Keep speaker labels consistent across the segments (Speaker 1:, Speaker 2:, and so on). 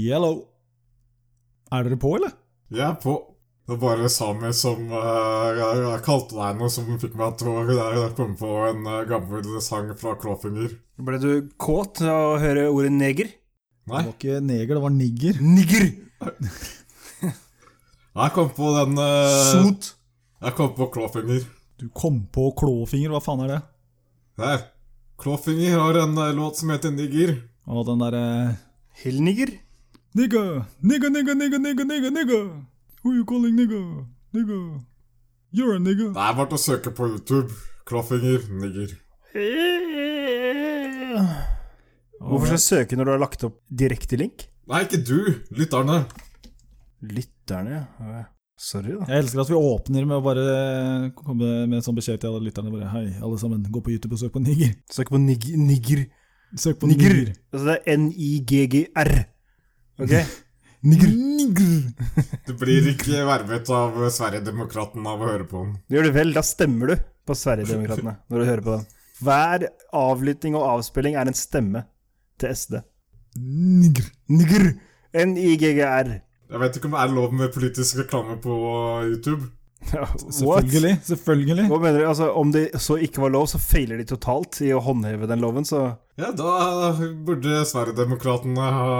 Speaker 1: Yellow. Er dere på, eller?
Speaker 2: Jeg er på. Det var bare Sami som eh, kalte deg noe som fikk meg til å jeg kom på en eh, gammel sang fra Klåfinger.
Speaker 3: Ble du kåt av å høre ordet neger?
Speaker 1: Det
Speaker 2: Nei,
Speaker 1: var ikke neger, det var nigger.
Speaker 3: Nigger!
Speaker 2: jeg kom på den eh,
Speaker 3: Sot!
Speaker 2: Jeg kom på Klåfinger.
Speaker 1: Du kom på klåfinger, hva faen er det?
Speaker 2: Der. Klåfinger har en eh, låt som heter Nigger.
Speaker 1: Og den eh, derre
Speaker 3: Hellniger?
Speaker 1: Nigga, nigga, nigga, nigga, nigga, nigga, nigga. Who you calling nigga? Nigga. You're a nigga.
Speaker 2: Det er bare å søke på YouTube. Klåfinger, Nigger.
Speaker 3: Hvorfor skal jeg søke når du har lagt opp direktelink?
Speaker 2: Nei, ikke du, lytterne.
Speaker 3: Lytterne, ja. Sorry, da.
Speaker 1: Jeg elsker at vi åpner med å bare komme med en sånn beskjed til alle lytterne. bare, Hei, alle sammen, gå på YouTube og søk på nigger.
Speaker 3: Søk på nig nigger.
Speaker 1: Søk på
Speaker 3: Nigger.
Speaker 1: nigger.
Speaker 3: Altså det er N-I-G-G-R. Ok?
Speaker 1: Nigger. nigger.
Speaker 2: Du blir ikke vervet av eh, Sverigedemokraten av å høre på den.
Speaker 3: Du gjør det vel, da stemmer du på Sverigedemokraterna når du hører på den. Hver avlytting og avspilling er en stemme til SD.
Speaker 1: Nigger.
Speaker 3: Nigger! N-I-G-G-R.
Speaker 2: Jeg vet ikke om det er lov med politisk reklame på eh, YouTube.
Speaker 3: What?
Speaker 1: Selvfølgelig. Selvfølgelig.
Speaker 3: Hva mener du? Altså, om det så ikke var lov, så feiler de totalt i å håndheve den loven, så
Speaker 2: Ja, da burde Sverigedemokratene ha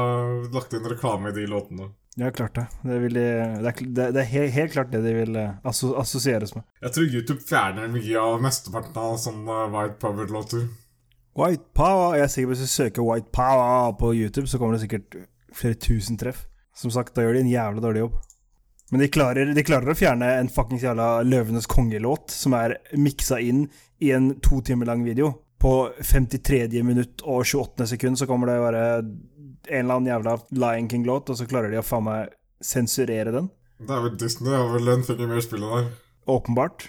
Speaker 2: lagt inn reklame i de låtene.
Speaker 3: Ja, klart det. Det, vil de, det er, kl- det, det er helt, helt klart det de vil eh, asso, assosieres med.
Speaker 2: Jeg tror YouTube fjerner mye av mesteparten av sånne White Power-låter.
Speaker 3: White power! Jeg er sikker på at Hvis du søker White power på YouTube, så kommer det sikkert flere tusen treff. Som sagt, da gjør de en jævla dårlig jobb. Men de klarer, de klarer å fjerne en fuckings jævla Løvenes kongelåt, som er miksa inn i en to timer lang video. På 53. minutt og 28. sekund så kommer det bare en eller annen jævla Lion King-låt, og så klarer de å faen meg sensurere den.
Speaker 2: Det er vel Disney har vel en finger med i spillet der.
Speaker 3: Åpenbart.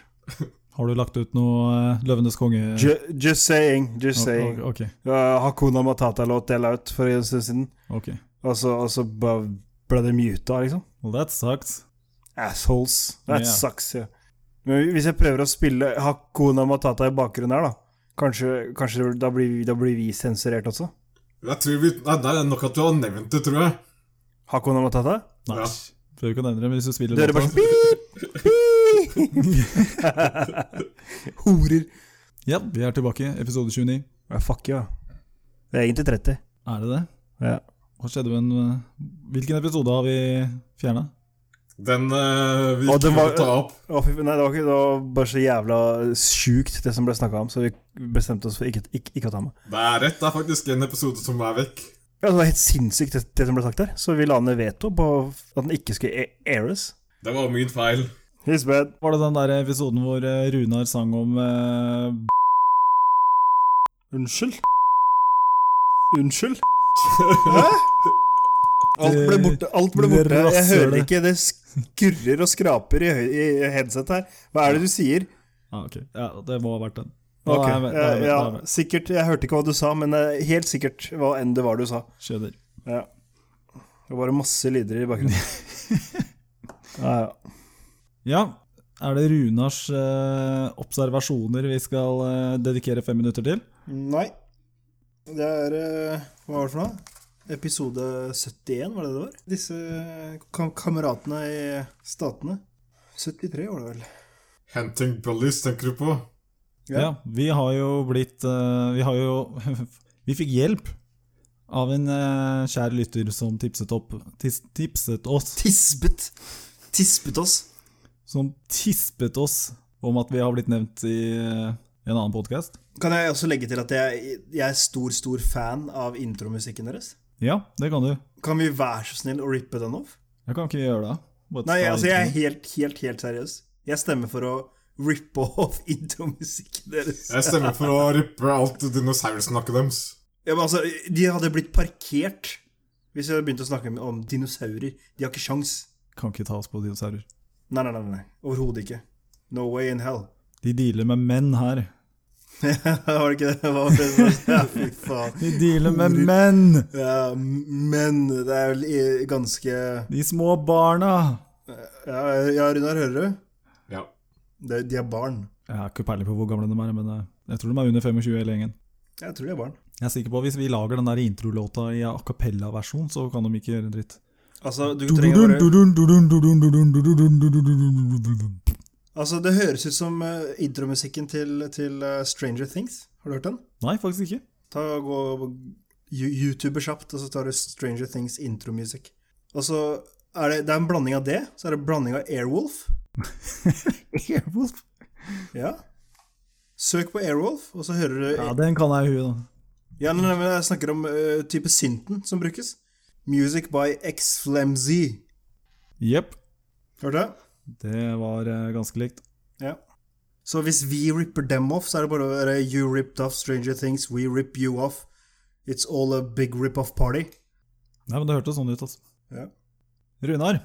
Speaker 1: Har du lagt ut noe eh, Løvenes konge?
Speaker 3: Ju, just saying, just saying.
Speaker 1: Ok, ok,
Speaker 3: Ja, Hakuna Matata-låt jeg la ut for en stund siden.
Speaker 1: ok.
Speaker 3: Og så, og så ba- ble det muta, liksom.
Speaker 1: Well, that sucks.
Speaker 3: Assholes. That
Speaker 1: Ja.
Speaker 3: sucks, ja. Men hvis jeg prøver å spille Hakuna Matata i bakgrunnen her, da Kanskje, kanskje da, blir, vi- da blir vi sensurert også?
Speaker 2: Jeg tror vi, nei, Det er nok at du har nevnt det, tror jeg.
Speaker 3: Hakuna Matata?
Speaker 1: Nei.
Speaker 2: Ja.
Speaker 1: Prøver ikke å nevne det, men hvis du spiller
Speaker 3: Du hører bare sånn pip, pip. Horer.
Speaker 1: Ja, vi er tilbake. Episode 29.
Speaker 3: Ja, fuck ja. Det er egentlig 30.
Speaker 1: Er det det?
Speaker 3: Ja.
Speaker 1: Hva skjedde med den eh, Hvilken episode har vi fjerna?
Speaker 2: Den eh, vi
Speaker 3: Og
Speaker 2: ikke
Speaker 3: den
Speaker 2: kan
Speaker 3: var-
Speaker 2: ta opp.
Speaker 3: Å, fy- Nei, det var, ikke, det var bare så jævla sjukt, det som ble snakka om, så vi bestemte oss for ikke, ikke, ikke å ta med.
Speaker 2: Det er rett, det er faktisk en episode som er vekk.
Speaker 3: Ja, Det var helt sinnssykt, det, det som ble sagt der. Så vi la ned veto på at den ikke skulle a- aires.
Speaker 2: Det var min feil.
Speaker 3: His bad.
Speaker 1: Var det den der episoden hvor eh, Runar sang om eh,
Speaker 3: Unnskyld? Unnskyld? Hæ? Alt ble borte. alt ble
Speaker 1: Det
Speaker 3: borte. Jeg
Speaker 1: rasser
Speaker 3: hører
Speaker 1: det.
Speaker 3: ikke. Det skurrer og skraper i, høy- i headset her. Hva er det du sier?
Speaker 1: Ja, ah, ok. Ja, det må ha vært den. Da
Speaker 3: Ok,
Speaker 1: er jeg med, da er jeg
Speaker 3: eh,
Speaker 1: med,
Speaker 3: ja,
Speaker 1: da er jeg med.
Speaker 3: sikkert. Jeg hørte ikke hva du sa, men eh, helt sikkert hva enn det var du sa.
Speaker 1: Skjønner.
Speaker 3: Ja. Det var bare masse lyder i bakgrunnen. Ja, ja.
Speaker 1: Ja, er det Runars eh, observasjoner vi skal eh, dedikere fem minutter til?
Speaker 3: Nei. Det er eh, Hva var det for noe? Episode 71, var det det var? Disse eh, kam kameratene i statene. 73 var det vel.
Speaker 2: Henting Bullies, tenker du på?
Speaker 1: Ja.
Speaker 3: Ja.
Speaker 1: vi har jo blitt eh, Vi har jo Vi fikk hjelp av en eh, kjær lytter som tipset, opp, tis, tipset oss
Speaker 3: Tispet! Tispet oss.
Speaker 1: Som tispet oss om at vi har blitt nevnt i eh, en annen podkast.
Speaker 3: Kan jeg også legge til at jeg, jeg er stor, stor fan av intromusikken deres?
Speaker 1: Ja, det kan du.
Speaker 3: Kan vi være så snill å rippe den off?
Speaker 1: Jeg kan ikke gjøre det. Bare
Speaker 3: Nei,
Speaker 1: ta
Speaker 3: altså, jeg er
Speaker 1: introen.
Speaker 3: helt, helt, helt seriøs. Jeg stemmer for å rippe off intromusikken deres.
Speaker 2: Jeg stemmer for å rippe alt dinosaursnakket deres.
Speaker 3: Ja, men altså, De hadde blitt parkert hvis jeg hadde begynt å snakke om dinosaurer. De har ikke sjans.
Speaker 1: Kan ikke ta oss på dinosaurer.
Speaker 3: Nei, nei, nei. nei. Overhodet ikke. No way in hell.
Speaker 1: De dealer med menn her.
Speaker 3: var det ikke det? Hva var det? Ja, fy faen.
Speaker 1: De dealer med menn!
Speaker 3: Ja, men det er vel i- ganske
Speaker 1: De små barna!
Speaker 3: Ja, ja Runar, hører du?
Speaker 2: Ja.
Speaker 3: Det, de er barn.
Speaker 1: Jeg har ikke peiling på hvor gamle de er, men eh, jeg tror de er under 25 hele gjengen.
Speaker 3: Jeg tror de er barn.
Speaker 1: Jeg er sikker på at Hvis vi lager den der introlåta i a cappella-versjon, så kan de ikke gjøre en dritt.
Speaker 3: Altså, du trenger bare
Speaker 1: Nei,
Speaker 3: Altså, det høres ut som eh, intromusikken til, til eh, Stranger Things. Har du hørt den?
Speaker 1: faktisk ikke.
Speaker 3: Ta og gå og you- YouTube kjapt, og så tar du Stranger Things intromusikk. Og så er det, det er en blanding av det, så er det en blanding av Airwolf.
Speaker 1: Airwolf?
Speaker 3: Ja. Søk på Airwolf, og så hører du
Speaker 1: Ja, den kan jeg i huet, da.
Speaker 3: Ja, nei, nei, men jeg snakker om eh, type synten som brukes. Music by X Flemzy.
Speaker 1: Jepp.
Speaker 3: Hørte jeg?
Speaker 1: Det var eh, ganske likt.
Speaker 3: Ja. Så hvis vi ripper dem off, så er det bare å være You ripped off Stranger Things, we rip you off. It's all a big rip-off party.
Speaker 1: Nei, men Det hørtes sånn ut, altså.
Speaker 3: Ja.
Speaker 1: Runar,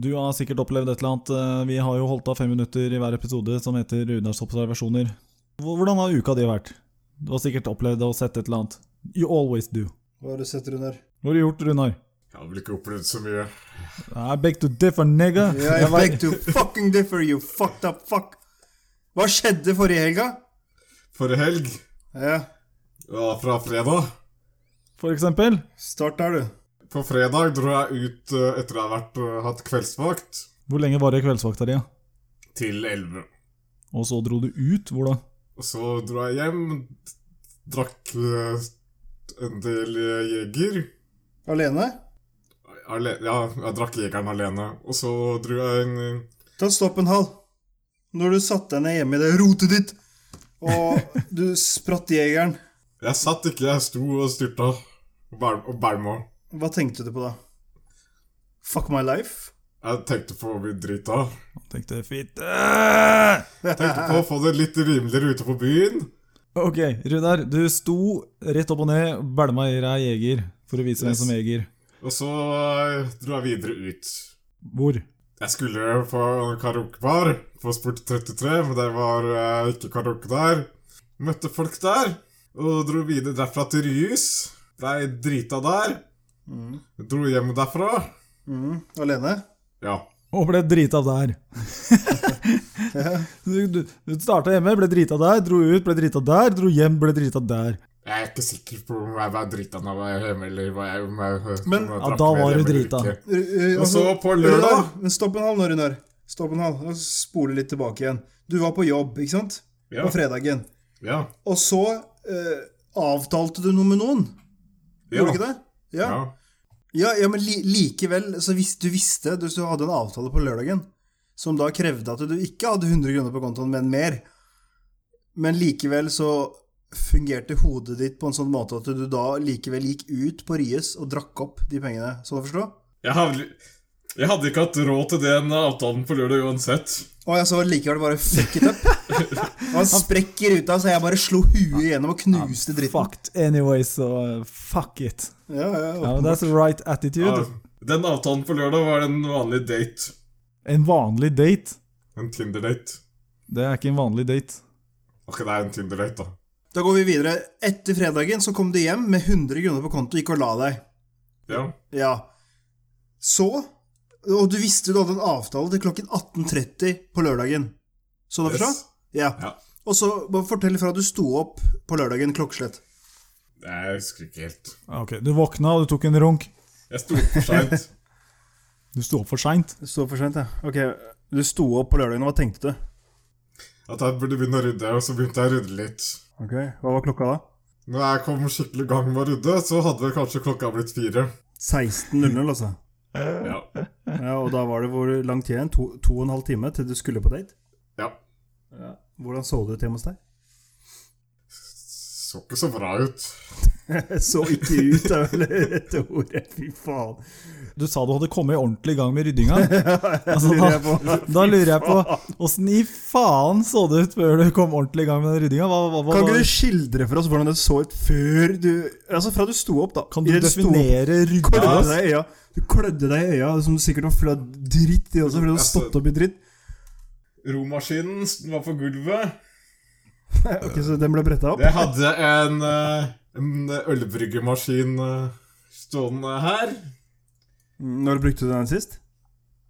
Speaker 1: du har sikkert opplevd et eller annet. Eh, Vi har jo holdt av fem minutter i hver episode som heter Runars observasjoner. Hvor- Hvordan har uka di vært? Du har sikkert opplevd og sett et eller annet. You always do.
Speaker 3: Hva har du sett, Runar?
Speaker 1: Hva har du gjort, Runar?
Speaker 2: Jeg har vel ikke opplevd så mye.
Speaker 1: I beg to differ, nigga.
Speaker 3: Yeah, I beg to fucking differ, you fucked up fuck. Hva skjedde forrige helga?
Speaker 2: Forrige helg,
Speaker 3: Ja,
Speaker 2: ja, fra fredag
Speaker 1: For eksempel.
Speaker 3: start der, du.
Speaker 2: På fredag dro jeg ut eh, etter jeg har vært, eh, hatt kveldsvakt,
Speaker 1: Hvor lenge var det kveldsvakta di? da?
Speaker 2: til 11.
Speaker 1: Og så dro du ut, hvor da?
Speaker 2: Og så dro jeg hjem, drakk eh, en del eh, jeger.
Speaker 3: Alene?
Speaker 2: Ale ja, jeg drakk jegeren alene. Og så dro jeg en
Speaker 3: Ta stopp en halv. Når du satte deg ned hjemme i det rotet ditt, og du spratt jegeren,
Speaker 2: Jeg satt ikke, jeg sto og styrta. Og bæl- og bælma.
Speaker 3: hva tenkte du på da? Fuck my life?
Speaker 2: Jeg tenkte på å bli drita.
Speaker 1: Han tenkte fitte!
Speaker 2: Tenkte på å få det litt rimeligere ute på byen.
Speaker 1: Ok, Runar, du sto rett opp og ned, bælma i deg jeger, for å vise hvem
Speaker 2: Yes.
Speaker 1: som jeger.
Speaker 2: Og så eh, dro jeg videre ut.
Speaker 1: Hvor?
Speaker 2: Jeg skulle på en karaokebar på Sport 33, men det var eh, ikke karaoke der. Møtte folk der, og dro videre derfra til Ryhus. Blei drita der.
Speaker 3: Mm.
Speaker 2: Dro hjem derfra.
Speaker 3: Mm. Alene?
Speaker 2: Ja.
Speaker 1: Og ble drita der. Du, du, du starta hjemme, ble drita der, dro ut, ble drita der, dro hjem, ble drita der.
Speaker 2: Jeg er ikke sikker på om jeg var drita når jeg var hjemme, eller hva jeg, om jeg,
Speaker 3: Men-
Speaker 2: om jeg
Speaker 1: Ja,
Speaker 2: drakk
Speaker 1: da
Speaker 2: mer
Speaker 1: var du
Speaker 2: hjemme eller
Speaker 1: drita.
Speaker 2: ikke.
Speaker 3: Eh, eh,
Speaker 2: Og så
Speaker 3: altså-
Speaker 2: på lørdag
Speaker 3: Runar, men Stopp en halv nå, Runar. Stopp en halv. Og spole litt tilbake igjen. Du var på jobb, ikke sant?
Speaker 2: Ja.
Speaker 3: På fredagen.
Speaker 2: Ja.
Speaker 3: Og så eh, avtalte du noe med noen.
Speaker 2: ja.
Speaker 3: Gjorde du ikke det? Ja.
Speaker 2: Ja.
Speaker 3: ja, ja men li likevel, så hvis du visste Du så hadde en avtale på lørdagen som da krevde at du ikke hadde 100 kroner på kontoen, men mer. Men likevel så fungerte hodet ditt på en sånn måte at du da likevel gikk ut på Ryes og drakk opp de pengene. Sånn å forstå?
Speaker 2: Jeg, hadde, jeg hadde ikke hatt råd til den avtalen på lørdag uansett.
Speaker 3: Og jeg så likevel bare fuck it up. Og han sprekk i ruta, så jeg bare slo huet igjennom og knuste dritten.
Speaker 1: Ah, Fucked anyway, så uh, fuck it.
Speaker 3: Ja, ja,
Speaker 1: Ja,
Speaker 3: ja.
Speaker 1: men that's the right
Speaker 2: Ja,
Speaker 1: attitude.
Speaker 2: den avtalen på lørdag var en vanlig date.
Speaker 1: En vanlig date,
Speaker 2: En Tinder-date.
Speaker 1: det er ikke en vanlig date.
Speaker 2: Ok, det er en Tinder-date, da.
Speaker 3: Da går vi videre. Etter fredagen så kom du hjem med 100 kroner på konto, gikk og la deg.
Speaker 2: Ja.
Speaker 3: Ja. Så Og du visste du hadde en avtale til klokken 18.30 på lørdagen. Sånn å forstå?
Speaker 2: Yes.
Speaker 3: Ja.
Speaker 2: Ja.
Speaker 3: Og så bare fortell ifra at du sto opp på lørdagen klokkeslett.
Speaker 2: Jeg husker ikke helt.
Speaker 1: Ok, Du våkna og du tok en runk.
Speaker 2: Jeg sto opp for seint.
Speaker 1: Du sto opp for seint.
Speaker 3: Det står for seint, ja. Ok, du sto opp på lørdagen, hva tenkte du?
Speaker 2: At jeg burde begynne å rydde, og så begynte jeg å rydde litt.
Speaker 3: Ok, Hva var klokka da?
Speaker 2: Når jeg kom skikkelig i gang med å rydde, så hadde vel kanskje klokka blitt fire.
Speaker 3: 16.00, altså.
Speaker 2: Ja.
Speaker 3: Ja, og da var det hvor lang tid igjen? To, to og en halv time til du skulle på date?
Speaker 2: ja.
Speaker 3: Hvordan så det ut hjemme hos deg?
Speaker 2: Så ikke så bra ut.
Speaker 3: så ikke ut, er vel det rette ordet. Fy faen.
Speaker 1: Du sa du hadde kommet ordentlig i gang med ryddinga. Altså,
Speaker 3: Altså, lurer jeg på.
Speaker 1: da, da lurer jeg på åssen i faen så det ut før du kom ordentlig i gang med den ryddinga? Hva, hva, hva,
Speaker 3: Kan ikke du skildre for oss hvordan det så ut før du Altså, fra du sto opp, da.
Speaker 1: kan du
Speaker 3: Idet sto opp,
Speaker 1: definere ryddinga?
Speaker 3: Klødde deg i øya. Du klødde deg i øya, som du sikkert var full av dritt i også, fordi du hadde
Speaker 2: Altså-
Speaker 3: stått opp i dritt.
Speaker 2: Romaskinen var på gulvet.
Speaker 3: Ok, Så den ble bretta opp?
Speaker 2: Jeg hadde en, eh, en ølbryggemaskin eh, stående her.
Speaker 3: Når brukte du den sist?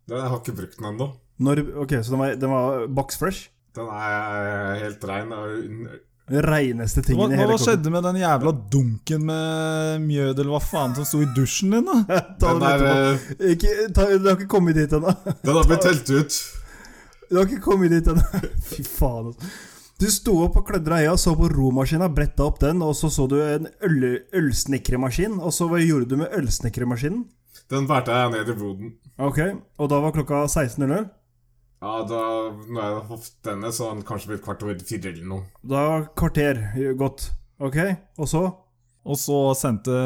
Speaker 2: Den, jeg har ikke brukt den ennå.
Speaker 3: Når, ok, Så den var, den var box fresh?
Speaker 2: Den er helt eh, rein og un-
Speaker 3: Den reineste
Speaker 1: Hva,
Speaker 3: tingen i
Speaker 1: hva
Speaker 3: hele
Speaker 1: hva skjedde med den jævla dunken med mjød eller hva faen som sto i dusjen din, da?
Speaker 3: Ta
Speaker 2: Den,
Speaker 3: den
Speaker 2: er,
Speaker 3: etterpå.
Speaker 2: eh,
Speaker 3: Ikke, ta, du har ikke kommet dit ennå.
Speaker 2: den har blitt telt ut.
Speaker 3: Du har ikke kommet dit ennå. Fy faen, altså. Du sto opp og klødde deg i øya, så på romaskina, bretta opp den, og så så du en øl, ølsnekremaskin, og så hva gjorde du med ølsnekremaskinen?
Speaker 2: Den bærte jeg ned i boden.
Speaker 3: Ok, og da var klokka 16.00.
Speaker 2: Ja, da når jeg har hatt denne, så har den kanskje blitt kvart over fire eller noe.
Speaker 3: Da var kvarter gått. Ok, og så?
Speaker 1: Og så sendte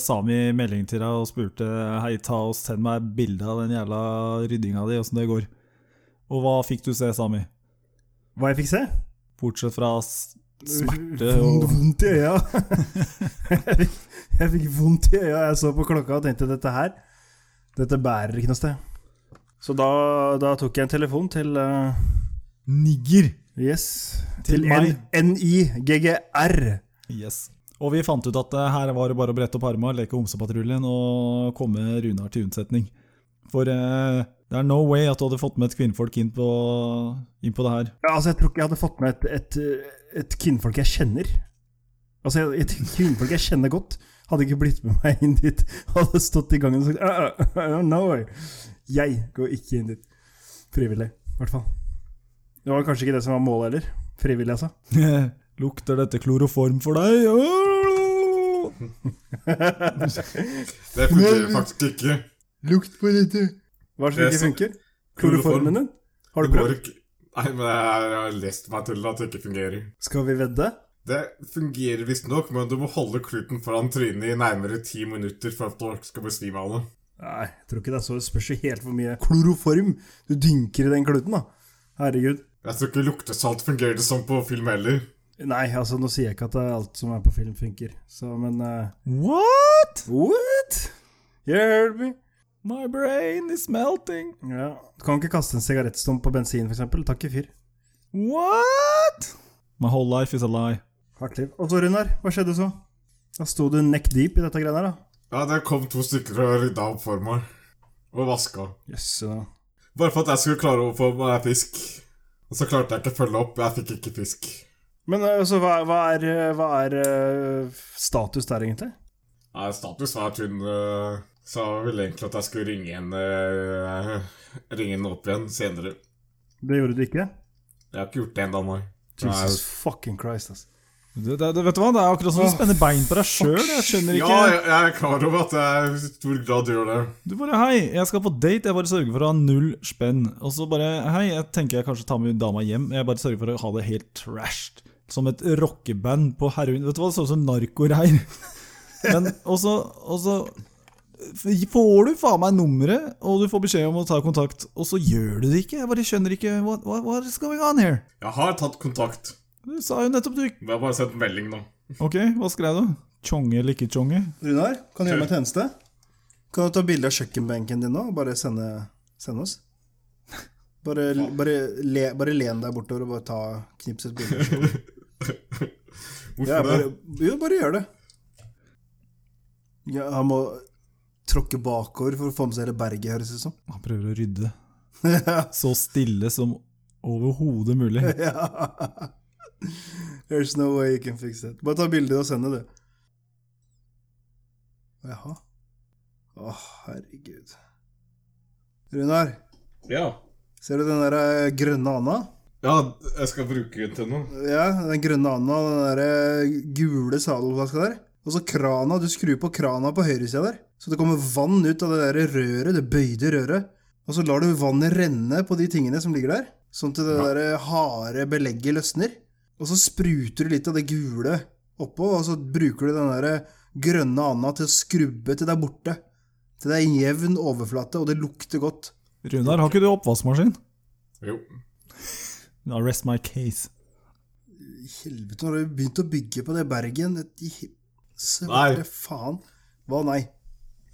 Speaker 1: Sami melding til deg og spurte Hei, ta og send meg bilde av den jævla ryddinga di, åssen det går. Og hva fikk du se, Sami?
Speaker 3: Hva jeg fikk se?
Speaker 1: Bortsett fra s- smerte og
Speaker 3: Vondt i øya. jeg, fikk, jeg fikk vondt i øya. Jeg så på klokka og tenkte dette her Dette bærer ikke noe sted. Så da, da tok jeg en telefon til eh,
Speaker 1: Nigger!
Speaker 3: Yes.
Speaker 1: Til
Speaker 3: Til,
Speaker 1: meg.
Speaker 3: N- NIGGR.
Speaker 1: Yes. Og vi fant ut at eh, her var det bare å brette opp arma, leke homsepatruljen og komme Runar til unnsetning. For eh, det er no way at du hadde fått med et kvinnfolk inn på, inn på det her.
Speaker 3: Ja, altså, jeg tror ikke jeg hadde fått med et, et, et kvinnfolk jeg kjenner. Altså, et kvinnfolk jeg kjenner godt, hadde ikke blitt med meg inn dit. Hadde stått i gangen og sagt «Uh, uh, uh, No way. Jeg går ikke inn dit. Frivillig, i hvert fall. Det var kanskje ikke det som var målet heller. Frivillig, altså.
Speaker 1: Lukter dette kloroform for deg? Åh!
Speaker 2: Det fungerer faktisk ikke.
Speaker 3: Lukt på dette. Hva er
Speaker 2: Det
Speaker 3: det som
Speaker 2: er
Speaker 3: ikke funker?
Speaker 2: Kloroform.
Speaker 3: Kloroformen din? Har
Speaker 2: Det
Speaker 3: du
Speaker 2: går
Speaker 3: prøvd?
Speaker 2: ikke. Nei, men jeg jeg har lest meg til at det ikke fungerer.
Speaker 3: Skal vi vedde?
Speaker 2: Det fungerer visstnok, men du må holde kluten foran trynet i nærmere ti minutter for at folk skal besvime av det.
Speaker 3: Nei, jeg tror ikke det er så det spørs jo helt hvor mye kloroform du dynker i den kluten, da. Herregud.
Speaker 2: Jeg tror ikke luktesalt fungerer det sånn på film heller.
Speaker 3: Nei, altså nå sier jeg ikke at det er alt som er på film funker, så men eh,
Speaker 1: What?
Speaker 3: What? You heard me?
Speaker 1: My brain is melting.
Speaker 3: Ja. Du kan ikke kaste en sigarettstump på bensin, f.eks. Takk i fyr.
Speaker 1: What? My whole life is a lie.
Speaker 3: Hardt liv. Og så, Runar, hva skjedde så? Da sto du neck deep i dette greiene her, da.
Speaker 2: Ja, det kom to stykker og rydda opp for meg. Og vaska.
Speaker 3: Jøsse da.
Speaker 2: Bare for at jeg skulle klare å få meg fisk. Og så klarte jeg ikke å følge opp. Jeg fikk ikke fisk.
Speaker 3: Men eh, så hva, hva er, eh, hva er eh, status der, egentlig?
Speaker 2: Nei, status var at hun øh, sa vel egentlig at jeg skulle ringe henne øh, Ringe henne opp igjen senere.
Speaker 3: Det gjorde du ikke?
Speaker 2: Jeg har ikke gjort det ennå, nei.
Speaker 3: Jesus fucking Christ, altså.
Speaker 1: Det, det, det, vet du hva? det er akkurat som du spenner bein på deg sjøl. Jeg skjønner
Speaker 2: Nei.
Speaker 1: ikke
Speaker 2: Ja, jeg, jeg er klar over at jeg i stor grad gjør det.
Speaker 1: Du bare 'hei, jeg skal på date', jeg bare sørger for å ha null spenn. Og så bare 'hei, jeg tenker jeg kanskje tar med dama hjem', jeg bare sørger for å ha det helt trashed. Som et rockeband på heroin. Vet du hva, det så ut som narkoreir. Men og så og så får du faen meg nummeret, og du får beskjed om å ta kontakt, og så gjør du det ikke. Jeg bare skjønner ikke what, what, what is going on here?
Speaker 2: Jeg har tatt kontakt.
Speaker 1: Du sa jo nettopp du ikke
Speaker 2: Men jeg har bare sendt melding nå.
Speaker 1: Ok, hva skrev du? Tjonge eller ikke tjonge?
Speaker 3: Runar, kan du gjøre meg en tjeneste? Kan du ta bilde av kjøkkenbenken din nå og bare sende, sende oss? Bare, bare, le, bare len deg bortover og bare ta knips et bilde. av kjøkkenbenken.
Speaker 2: Hvorfor
Speaker 3: Ja,
Speaker 2: det?
Speaker 3: bare, jo, bare gjør det. Ja, han må tråkke bakover for å få med seg hele berget, høres det ut som.
Speaker 1: Han prøver å rydde. Så stille som overhodet mulig.
Speaker 3: Ja. There's no way you can fix it. Bare ta bilde og send det, du. Jaha. Å, herregud. Runar,
Speaker 2: Ja.
Speaker 3: ser du den der eh, grønne anda?
Speaker 2: ja, jeg skal bruke den til noe.
Speaker 3: Ja, den grønne anda og den der eh, gule saloflaska der. Og så krana, du skrur på krana på høyresida der. Så det kommer vann ut av det der røret, det bøyde røret. Og så lar du vannet renne på de tingene som ligger der, sånn til det
Speaker 2: Ja.
Speaker 3: der harde belegget løsner. Og så spruter du litt av det gule oppå, og så bruker du den der eh, grønne anda til å skrubbe til det er borte. Til det er en jevn overflate, og det lukter godt.
Speaker 1: Runar, har ikke du oppvaskmaskin?
Speaker 2: Jo.
Speaker 1: No, rest my case.
Speaker 3: I Helvete, når har du begynt å bygge på det Bergen? Et i-
Speaker 2: Nei.
Speaker 3: Svarte faen. Hva nei?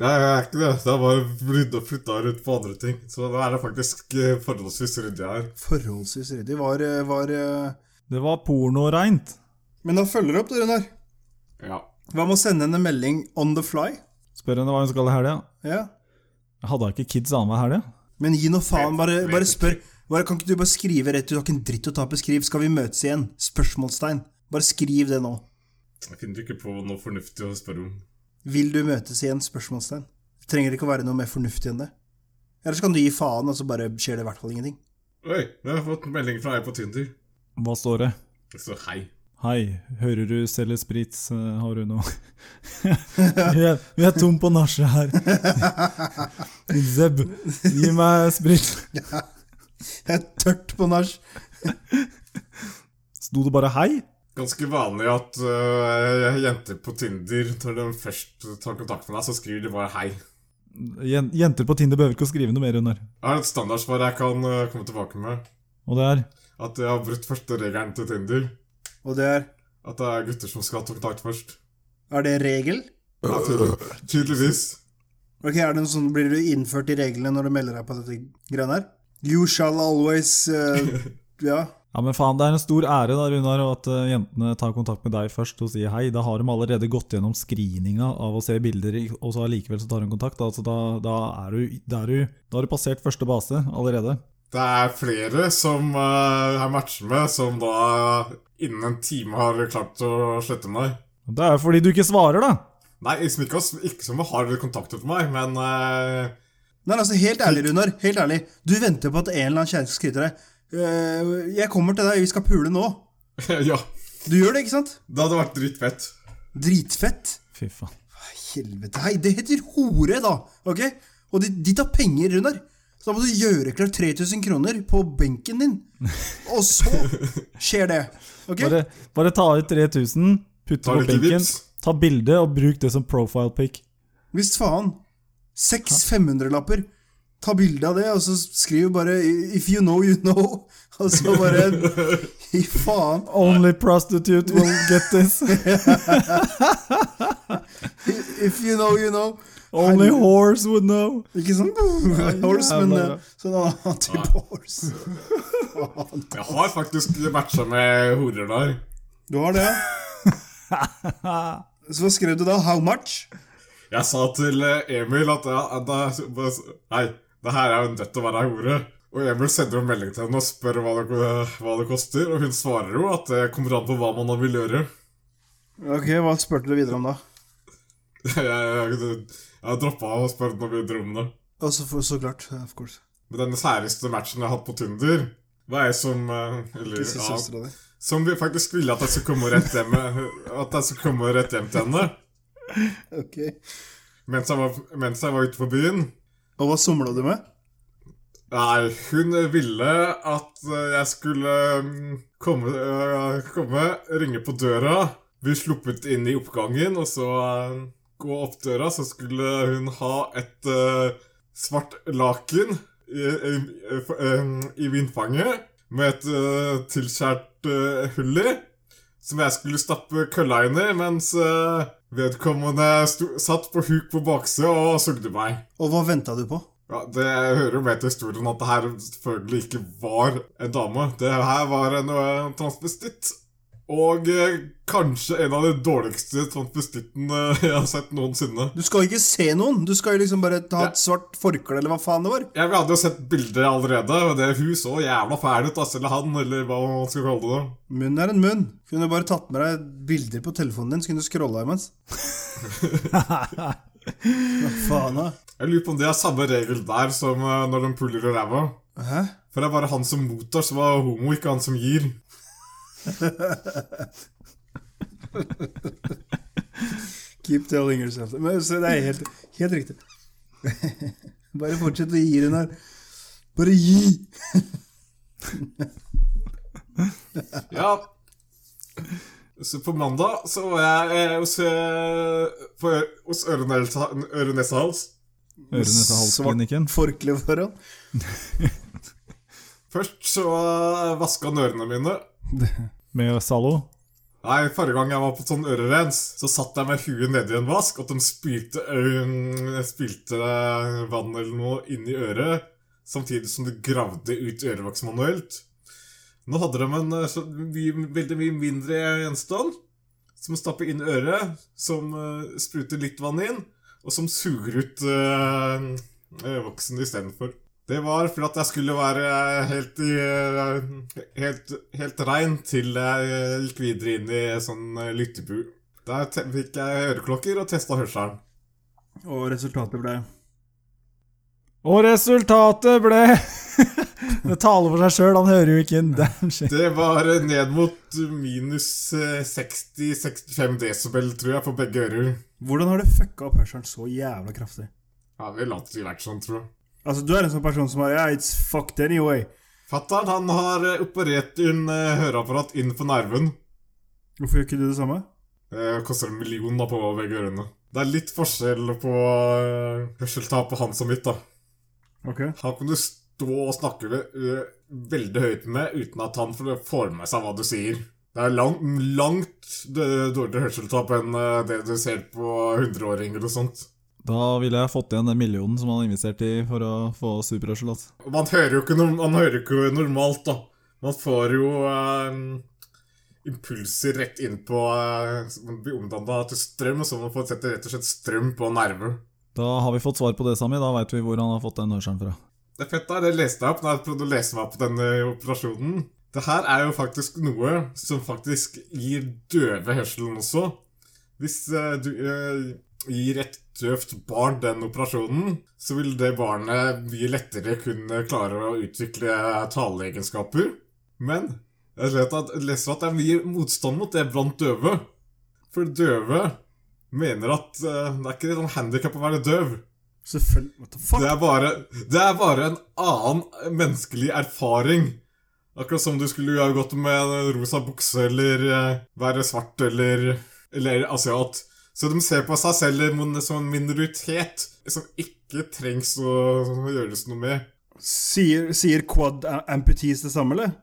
Speaker 2: Nei, jeg er ikke det. Det er bare rydda og flytta rundt på andre ting. Så da er det faktisk eh, forholdsvis ryddig her.
Speaker 3: Forholdsvis ryddig. Var, eh, var eh,
Speaker 1: Det var pornoreint.
Speaker 3: Men da følger du opp, da, Runar.
Speaker 2: Ja.
Speaker 3: Hva med å sende henne en melding on the fly?
Speaker 1: Spør henne hva hun skal i helga.
Speaker 3: Ja.
Speaker 1: Jeg Hadde hun ikke kids annenhver helg?
Speaker 3: Men gi nå faen. Bare,
Speaker 2: Vet-
Speaker 3: bare
Speaker 2: vet
Speaker 3: spør. Bare, kan ikke du bare skrive rett ut? Du har ikke en dritt å tape. Skriv 'Skal vi møtes igjen?' Spørsmålstegn. Bare skriv det nå.
Speaker 2: Jeg finner ikke på noe fornuftig å spørre om.
Speaker 3: Vil du møtes igjen? Spørsmålstegn. Det trenger ikke å være noe mer fornuftig enn det. Ellers kan du gi faen, og så bare skjer det i hvert fall ingenting.
Speaker 2: Oi, jeg har fått en melding fra ei på Tinder.
Speaker 1: Hva står det?
Speaker 2: Det står hei.
Speaker 1: Hei, hører du selger sprit, eh, har du noe? vi, er, vi er tom på nasje her. Zeb, gi meg sprit.
Speaker 3: Jeg er tørt på nach.
Speaker 1: Sto det bare hei?
Speaker 2: Ganske vanlig at øh, jenter på Tinder, når de først tar kontakt med deg, så skriver de bare hei.
Speaker 1: Jen- Jenter på Tinder behøver ikke å skrive noe mer under.
Speaker 2: Jeg har et standardsvar jeg kan øh, komme tilbake med.
Speaker 1: Og det er
Speaker 2: At jeg har brutt første regelen til Tinder.
Speaker 3: Og det er
Speaker 2: At det er gutter som skal ta kontakt først.
Speaker 3: Er det regel?
Speaker 2: Ja, tydel- tydeligvis.
Speaker 3: Ok, er det noe sånn, Blir du innført i reglene når du melder deg på dette greiene her? You shall always eh, Ja.
Speaker 1: Ja, men faen, det er en stor ære da, Runar, og at eh, jentene tar kontakt med deg først og sier hei. Da har de allerede gått gjennom screeninga av å se bilder, i- og så allikevel så tar de kontakt. Altså, da, da, er du, da, er du, da har du passert første base allerede.
Speaker 2: Det er flere som øh, jeg matcher med, som da innen en time har klart å slette meg.
Speaker 1: Det er jo fordi du ikke svarer, da!
Speaker 2: Nei, liksom ikke, ikke som har kontaktet meg, men øh,
Speaker 3: Nei, altså, Helt ærlig, Runar. helt ærlig. Du venter på at en eller annen kjæreste skal skryte deg. Eh, 'Jeg kommer til deg, vi skal pule nå.'
Speaker 2: Ja.
Speaker 3: Du gjør det, ikke sant?
Speaker 2: Det hadde vært dritfett.
Speaker 3: Dritfett.
Speaker 1: Fy faen.
Speaker 3: Helvete. Hei, det heter hore, da. Ok? Og de, de tar penger, Runar. Så da må du gjøre klart 3000 kroner på benken din. Og så skjer det. Ok?
Speaker 1: Bare, bare ta ut 3000, putte
Speaker 2: Ta
Speaker 1: på
Speaker 2: litt i
Speaker 1: benken,
Speaker 2: vips.
Speaker 1: ta bilde og bruk det som profile pic.
Speaker 3: Visst faen. Seks 500-lapper. Ta bilde av det, og så skriv bare 'if you know, you know'. Og så bare Fy faen.
Speaker 1: Only prostitute will get this.
Speaker 3: If you know, you know.
Speaker 1: Only
Speaker 3: Helvete.
Speaker 1: whores would know.
Speaker 3: Ikke sånn horse, men
Speaker 1: jævla
Speaker 3: eh,
Speaker 1: bra.
Speaker 3: sånn annen type horse. Faen.
Speaker 2: Jeg har faktisk matcha med horer der.
Speaker 3: Du har det, ja? Så hva skrev du da? How much?
Speaker 2: Jeg sa til eh, Emil at ja, at det er- bare s- Hei, det her er jo nødt til å være ei hore. Og Emil sender en melding til henne og spør hva det, hva det koster. Og hun svarer jo at det kommer an på hva man vil gjøre.
Speaker 3: Ok, Hva spurte du videre om da?
Speaker 2: Jeg, jeg, jeg droppa å spørre noe videre om det.
Speaker 3: Og så, for, så klart, of course.
Speaker 2: Men den særeste matchen jeg har hatt på Tinder, var jeg som eh, eller,
Speaker 3: Hvis
Speaker 2: ja,
Speaker 3: søstera di.
Speaker 2: Som vi faktisk ville at jeg skulle komme rett hjem, eh, at jeg skulle komme rett hjem til henne.
Speaker 3: Ok.
Speaker 2: Mens jeg var, mens jeg var ute på byen.
Speaker 3: Og hva somla du med?
Speaker 2: Nei, hun ville at eh, jeg skulle mm, komme, eh, komme, ringe på døra, bli sluppet inn i oppgangen, og så eh, gå opp døra, så skulle hun ha et eh, svart laken i, i, f- eh, i vindfanget, med et eh, tilskjært eh, hull i, som jeg skulle stappe kølla inn i, mens eh, vedkommende sto, satt på huk på baksida og sugde meg.
Speaker 3: Og hva venta du på?
Speaker 2: Ja, Det hører jo med til historien at det her selvfølgelig ikke var en dame. Det her var en eh, transvestitt. Og eh, kanskje en av de dårligste transvestittene jeg har sett noensinne.
Speaker 3: Du skal jo ikke se noen! Du skal jo liksom bare ta
Speaker 2: Ja.
Speaker 3: et svart forkle, eller hva faen det var.
Speaker 2: Jeg hadde jo sett bildet allerede, og det hun så jævla fæl ut, altså, eller han, eller hva man skal kalle det.
Speaker 3: Munn er en munn. Kunne du bare tatt med deg bilder på telefonen din, så kunne du scrolla imens. Hva faen, da?
Speaker 2: Jeg lurer på om det er samme regel der som eh, når de puller i ræva.
Speaker 3: Hæ?
Speaker 2: For det er bare han som mottar, som er homo, ikke han som gir.
Speaker 3: Keep telling yourself that. Men, så Det er helt, helt riktig. Bare fortsett å gi den her. Bare gi!
Speaker 2: Ja. Så på mandag så var jeg eh, hos, eh, på, Ø- hos Ørenesa-Hals.
Speaker 1: Ørenesehalsklinikken.
Speaker 3: forkle foran.
Speaker 2: Først så eh, vaska han ørene mine.
Speaker 1: Med Zalo.
Speaker 2: Nei, Forrige gang jeg var på sånn ørerens, så satt jeg med huet nedi en vask, og de spylte, ø- spylte vann eller noe inn i øret, samtidig som de gravde ut ørevoks manuelt. Nå hadde de en eh, så mye, veldig mye mindre gjenstand, som stapper inn i øret, som eh, øh, spruter litt vann inn, og som suger ut uh, øyevoksen istedenfor. Det var for at jeg skulle være helt, i, eh, helt, helt rein til jeg eh, gikk videre inn i sånn eh, lyttebu. Der te- fikk jeg øreklokker og testa hørselen.
Speaker 3: Og resultatet ble
Speaker 1: Og resultatet ble Det taler for seg sjøl, han hører jo ikke en damn shit.
Speaker 2: Det var eh, ned mot minus eh, 60-65 desibel, tror jeg, på begge ører.
Speaker 3: Hvordan har du fucka opp hørselen så jævla kraftig?
Speaker 2: Ja, det har alltid vært sånn, tror jeg.
Speaker 3: Altså, du er en sånn person som har Yeah, it's fucked anyway.
Speaker 2: Fatter'n, han har eh, operert en eh, høreapparat inn på nerven.
Speaker 3: Hvorfor gjør ikke du det samme?
Speaker 2: Det koster en million da på begge ørene. Det er litt forskjell på eh, hørselstap på hans og mitt, da.
Speaker 3: Ok.
Speaker 2: Han kan du stå og snakke ved, ø, veldig høyt med uten at han får- får med seg hva du sier. Det er langt, langt dø- dårligere hørselstap enn ø, det du ser på hundreåringer og sånt.
Speaker 1: Da ville jeg fått igjen den millionen som han investerte i for å få superhørsel. Altså.
Speaker 2: Og man hører jo ikke, norm- man hører ikke normalt, da. Man får jo ø, impulser rett inn på ø, Man blir omdanna til strøm, og så man får sette rett og slett strøm på nerver.
Speaker 1: Da har vi fått svar på det, Sami. Da veit vi hvor han har fått den hørselen fra.
Speaker 2: Det fette er, det leste jeg opp når jeg prøvde å lese meg opp på denne operasjonen. Det her er jo faktisk noe som faktisk gir døve hørselen også. Hvis eh, du eh, gir et døvt barn den operasjonen, så vil det barnet mye lettere kunne klare å utvikle taleegenskaper. Men jeg vet at, jeg leser at det er mye motstand mot det blant døve. For døve mener at eh, det er ikke noen handikap å være døv.
Speaker 3: Selvfølgelig. What the fuck?
Speaker 2: Det er bare, det er bare en annen menneskelig erfaring. Akkurat som du skulle ha gått med en rosa bukse eller eh, være svart eller, eller asiat. Så de ser på seg selv som en- som en minoritet som ikke trengs å å gjøres noe med.
Speaker 3: Sier, sier quad a- amputees det samme, eller?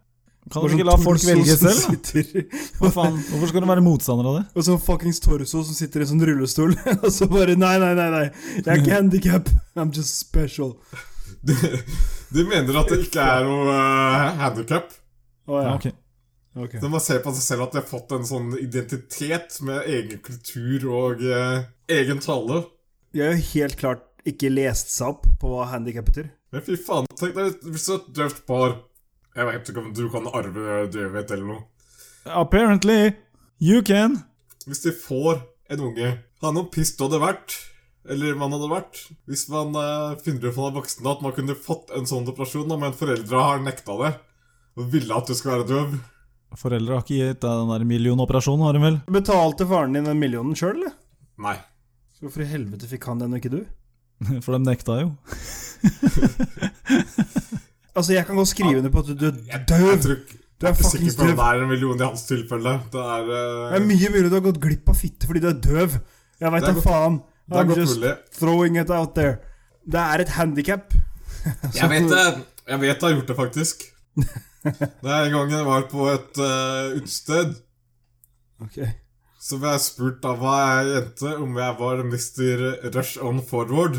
Speaker 3: sånn
Speaker 1: Kan du ikke la folk velge selv? da? Hva
Speaker 3: Hva
Speaker 1: faen? Hvorfor skal du være motstander av det?
Speaker 3: Og sånn fuckings torso som sitter i sånn rullestol, og så bare Nei, nei, nei, nei. Jeg er ikke handicap. I'm just special.
Speaker 2: De, de mener at det ikke er noe uh, handikap.
Speaker 3: Å
Speaker 1: Ja,
Speaker 3: ja.
Speaker 1: ok.
Speaker 3: ok.
Speaker 2: Når man ser på seg selv at de har fått en sånn identitet med egen kultur og eh, egen tale.
Speaker 3: Jeg har jo helt klart ikke lest seg opp på hva handikap betyr.
Speaker 2: Men fy faen, tenk deg hvis du er et døvt par Jeg vet ikke om du kan arve døvhet eller noe.
Speaker 1: Apparently you can.
Speaker 2: Hvis de får en unge Han noe piss du hadde vært, eller man hadde vært, hvis man eh, finner ut fra voksne at man kunne fått en sånn operasjon, da, men foreldra har nekta det og ville at du skal være døv.
Speaker 1: Foreldre har ikke gitt deg den der millionoperasjonen, har de vel?
Speaker 3: Betalte faren din den millionen sjøl, eller?
Speaker 2: Nei.
Speaker 3: Så Hvorfor i helvete fikk han den, og ikke du?
Speaker 1: For de nekta jo.
Speaker 3: Altså, jeg kan godt skrive under på at du er
Speaker 2: Jeg
Speaker 3: døv.
Speaker 2: tror ikke
Speaker 3: Du
Speaker 2: jeg
Speaker 3: er
Speaker 2: er ikke
Speaker 3: fuckings
Speaker 2: sikker på om
Speaker 3: døv.
Speaker 2: det er en million i hans tilfelle. Det er, eh,
Speaker 3: Det er mye mulig du har gått glipp av fitte fordi du er døv. Jeg veit
Speaker 2: Det er
Speaker 3: da
Speaker 2: godt-
Speaker 3: faen.
Speaker 2: det er
Speaker 3: I'm
Speaker 2: godt
Speaker 3: just
Speaker 2: mulig.
Speaker 3: throwing it out there. Det er et handikap.
Speaker 2: Jeg vet det. Jeg vet jeg har gjort det, faktisk. Det er en gang jeg var på et eh, utested. Så ble jeg spurt av ei jente om jeg var Mr. Rush On Forward.